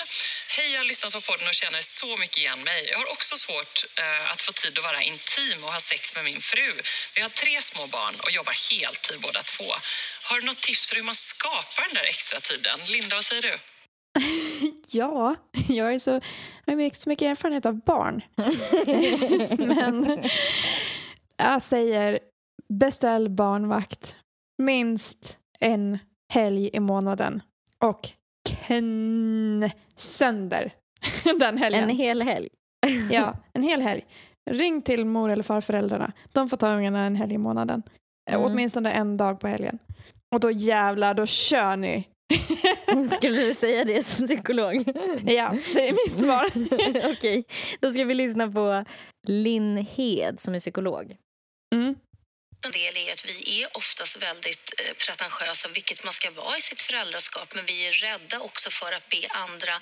[SPEAKER 9] Hej, jag har lyssnat på podden och känner så mycket igen mig. Jag har också svårt eh, att få tid att vara intim och ha sex med min fru. Vi har tre små barn och jobbar heltid båda två. Har du något tips för hur man skapar den där extra tiden? Linda, vad säger du?
[SPEAKER 3] Ja, jag är så, jag har ju så mycket erfarenhet av barn. Men jag säger beställ barnvakt minst en helg i månaden och knä sönder den helgen.
[SPEAKER 2] En hel helg.
[SPEAKER 3] Ja, en hel helg. Ring till mor eller farföräldrarna. De får ta ungarna en helg i månaden. Mm.
[SPEAKER 2] Mm.
[SPEAKER 3] Åtminstone en dag på helgen. Och då jävlar, då kör ni.
[SPEAKER 2] Skulle du säga det som psykolog?
[SPEAKER 3] ja, det är mitt svar.
[SPEAKER 2] Okej, då ska vi lyssna på Linn Hed som är psykolog.
[SPEAKER 3] Mm.
[SPEAKER 5] en del är att vi är oftast väldigt eh, pretentiösa, vilket man ska vara i sitt föräldraskap, men vi är rädda också för att be andra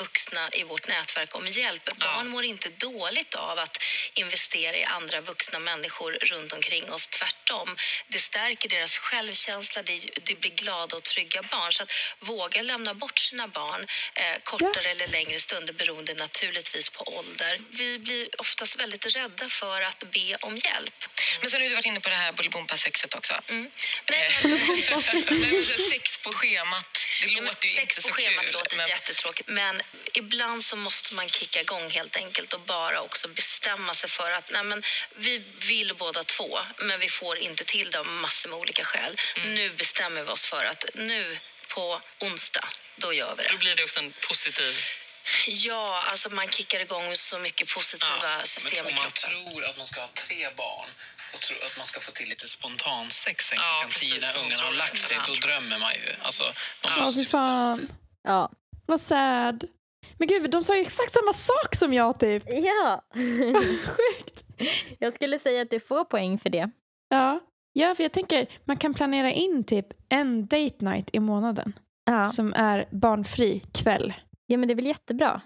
[SPEAKER 5] vuxna i vårt nätverk om hjälp. Barn mår inte dåligt av att investera i andra vuxna människor runt omkring oss, tvärtom. Det stärker deras självkänsla, det, det blir glada och trygga barn. Så att våga lämna bort sina barn eh, kortare eller längre stunder beroende naturligtvis på ålder. Vi blir oftast väldigt rädda för att be om hjälp.
[SPEAKER 9] Men sen har du varit inne på det här bullybompa-sexet också.
[SPEAKER 5] Mm. Nej,
[SPEAKER 9] Eh, Nej, men så här, sex på schemat, det
[SPEAKER 5] Ja, men
[SPEAKER 9] låter ju
[SPEAKER 5] Mm, sex
[SPEAKER 9] inte så
[SPEAKER 5] på schemat
[SPEAKER 9] kul.
[SPEAKER 5] låter
[SPEAKER 9] men-
[SPEAKER 5] jättetråkigt, men ibland så måste man kicka igång helt enkelt och bara också bestämma sig för att nej, men, vi vill båda två, men vi får inte till det av massor med olika skäl.
[SPEAKER 9] Mm.
[SPEAKER 5] Nu bestämmer vi oss för att nu på onsdag, då gör vi det.
[SPEAKER 9] Då blir det också en positiv...
[SPEAKER 5] Ja, alltså man kickar igång så mycket positiva system i kroppen.
[SPEAKER 10] tror att man ska ha tre barn och tror att man ska få till lite spontansex sen
[SPEAKER 9] Ja,
[SPEAKER 10] klockan
[SPEAKER 9] precis,
[SPEAKER 10] tio när
[SPEAKER 9] sånt
[SPEAKER 10] ungarna har
[SPEAKER 9] tror jag.
[SPEAKER 10] lagt sig, då drömmer man ju. Alltså, man
[SPEAKER 3] Ja,
[SPEAKER 10] måste
[SPEAKER 3] fy
[SPEAKER 10] ju bestämma sig.
[SPEAKER 3] fan.
[SPEAKER 2] Ja.
[SPEAKER 3] Vad sad. Men gud, de sa ju exakt samma sak som jag typ.
[SPEAKER 2] ja.
[SPEAKER 3] Sjukt.
[SPEAKER 2] Jag skulle säga att du får poäng för det.
[SPEAKER 3] Ja. ja, för jag tänker man kan planera in typ en date night i månaden
[SPEAKER 2] Ja.
[SPEAKER 3] som är barnfri kväll.
[SPEAKER 2] ja, men det är väl jättebra.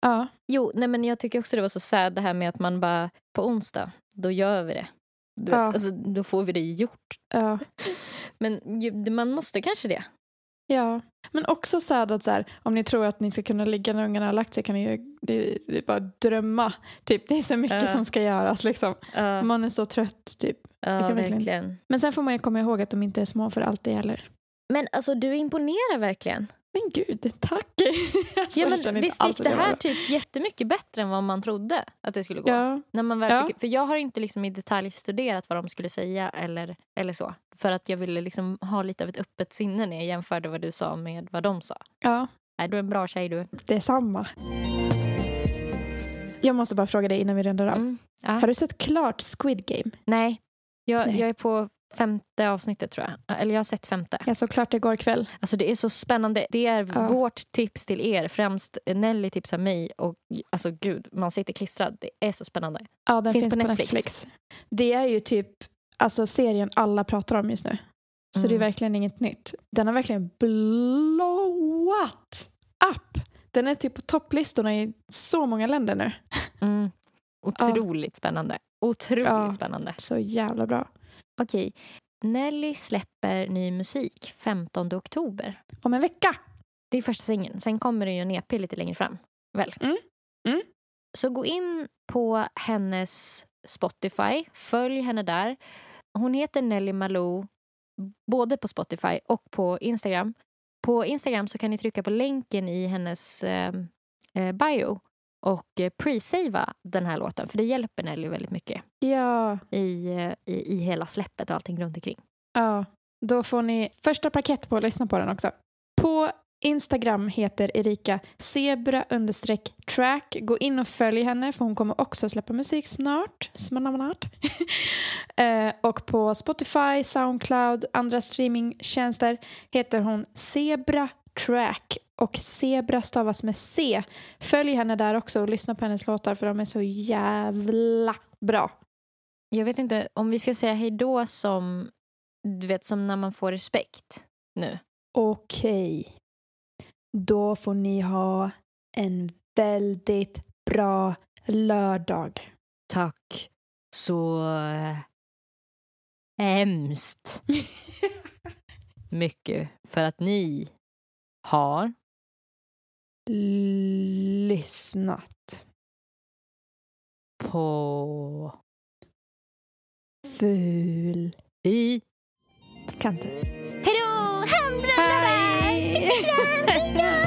[SPEAKER 3] Ja.
[SPEAKER 2] Jo, nej, men jag tycker också det var så sad det här med att man bara på onsdag, då gör vi det. Du,
[SPEAKER 3] Ja.
[SPEAKER 2] alltså, då får vi det gjort.
[SPEAKER 3] Ja.
[SPEAKER 2] Men ju, det- man måste kanske det.
[SPEAKER 3] ja. Men också sad att så här, om ni tror att ni ska kunna ligga när ungarna har lagt sig kan ni ju det, det är bara drömma. Typ. Det är så mycket
[SPEAKER 2] Ja.
[SPEAKER 3] som ska göras. Liksom.
[SPEAKER 2] Ja,
[SPEAKER 3] Man är så trött. Typ.
[SPEAKER 2] ja,
[SPEAKER 3] kan verkligen-
[SPEAKER 2] verkligen.
[SPEAKER 3] Men sen får man ju komma ihåg att de inte är små för alltid heller.
[SPEAKER 2] Men alltså, du imponerar verkligen.
[SPEAKER 3] Men gud, tack! Alltså,
[SPEAKER 2] Ja,
[SPEAKER 3] jag
[SPEAKER 2] men
[SPEAKER 3] känner inte
[SPEAKER 2] visst
[SPEAKER 3] alls
[SPEAKER 2] gick
[SPEAKER 3] att
[SPEAKER 2] det
[SPEAKER 3] jag var
[SPEAKER 2] här
[SPEAKER 3] bra.
[SPEAKER 2] typ jättemycket bättre än vad man trodde att det skulle gå?
[SPEAKER 3] Ja,
[SPEAKER 2] När man väl
[SPEAKER 3] Ja.
[SPEAKER 2] fick, för jag har inte liksom i detalj studerat vad de skulle säga eller, eller så. För att jag ville liksom ha lite av ett öppet sinne när jag jämförde vad du sa med vad de sa.
[SPEAKER 3] ja,
[SPEAKER 2] Är du är en bra tjej du?
[SPEAKER 3] det är samma. Jag måste bara fråga dig innan vi rundar av.
[SPEAKER 2] Mm. Ja.
[SPEAKER 3] Har du sett klart Squid Game?
[SPEAKER 2] Nej. Jag,
[SPEAKER 3] Nej.
[SPEAKER 2] jag är på femte avsnittet tror jag. Eller jag har sett femte.
[SPEAKER 3] Jag såg klart igår kväll.
[SPEAKER 2] Alltså det är så spännande. Det är
[SPEAKER 3] Ja.
[SPEAKER 2] vårt tips till er. Främst Nelly tipsar mig och alltså gud, man sitter klistrad. Det är så spännande.
[SPEAKER 3] Ja, den
[SPEAKER 2] Finns
[SPEAKER 3] finns,
[SPEAKER 2] på
[SPEAKER 3] på,
[SPEAKER 2] Netflix.
[SPEAKER 3] Netflix. Det är ju typ alltså, serien alla pratar om just nu. Så
[SPEAKER 2] Mm.
[SPEAKER 3] det är verkligen inget nytt. Den har verkligen blowat up. Den är typ på topplistorna i så många länder nu.
[SPEAKER 2] Mm. Otroligt spännande. Otroligt
[SPEAKER 3] Ja.
[SPEAKER 2] spännande.
[SPEAKER 3] Så jävla bra.
[SPEAKER 2] Okej. Nelly släpper ny musik 15 oktober.
[SPEAKER 3] Om en vecka.
[SPEAKER 2] Det är första singeln. Sen kommer det ju en EP lite längre fram. Väl?
[SPEAKER 3] Mm. Mm.
[SPEAKER 2] Så gå in på hennes Spotify. Följ henne där. Hon heter Nelly Malou både på Spotify och på Instagram. På Instagram så kan ni trycka på länken i hennes eh, eh, bio och eh, pre-savea den här låten för det hjälper Nelly väldigt mycket
[SPEAKER 3] Ja.
[SPEAKER 2] i, eh, i, i hela släppet och allting runt omkring.
[SPEAKER 3] ja. Då får ni första paket på att lyssna på den också. På Instagram heter Erika zebra understreck track. Gå in och följ henne för hon kommer också släppa musik snart. Snart. Eh, och på Spotify, Soundcloud, andra streamingtjänster heter hon Zebra Track och Zebra stavas med C. Följ henne där också och lyssna på hennes låtar för de är så jävla bra.
[SPEAKER 2] Jag vet inte om vi ska säga hej då som, du vet, som när man får respekt nu.
[SPEAKER 3] Okej. Då får ni ha en väldigt bra lördag.
[SPEAKER 2] Tack så eh, hemskt mycket för att ni har
[SPEAKER 3] Lyssnat.
[SPEAKER 2] på
[SPEAKER 3] Ful.
[SPEAKER 2] i...
[SPEAKER 3] Kanten.
[SPEAKER 2] Hej då! Hej!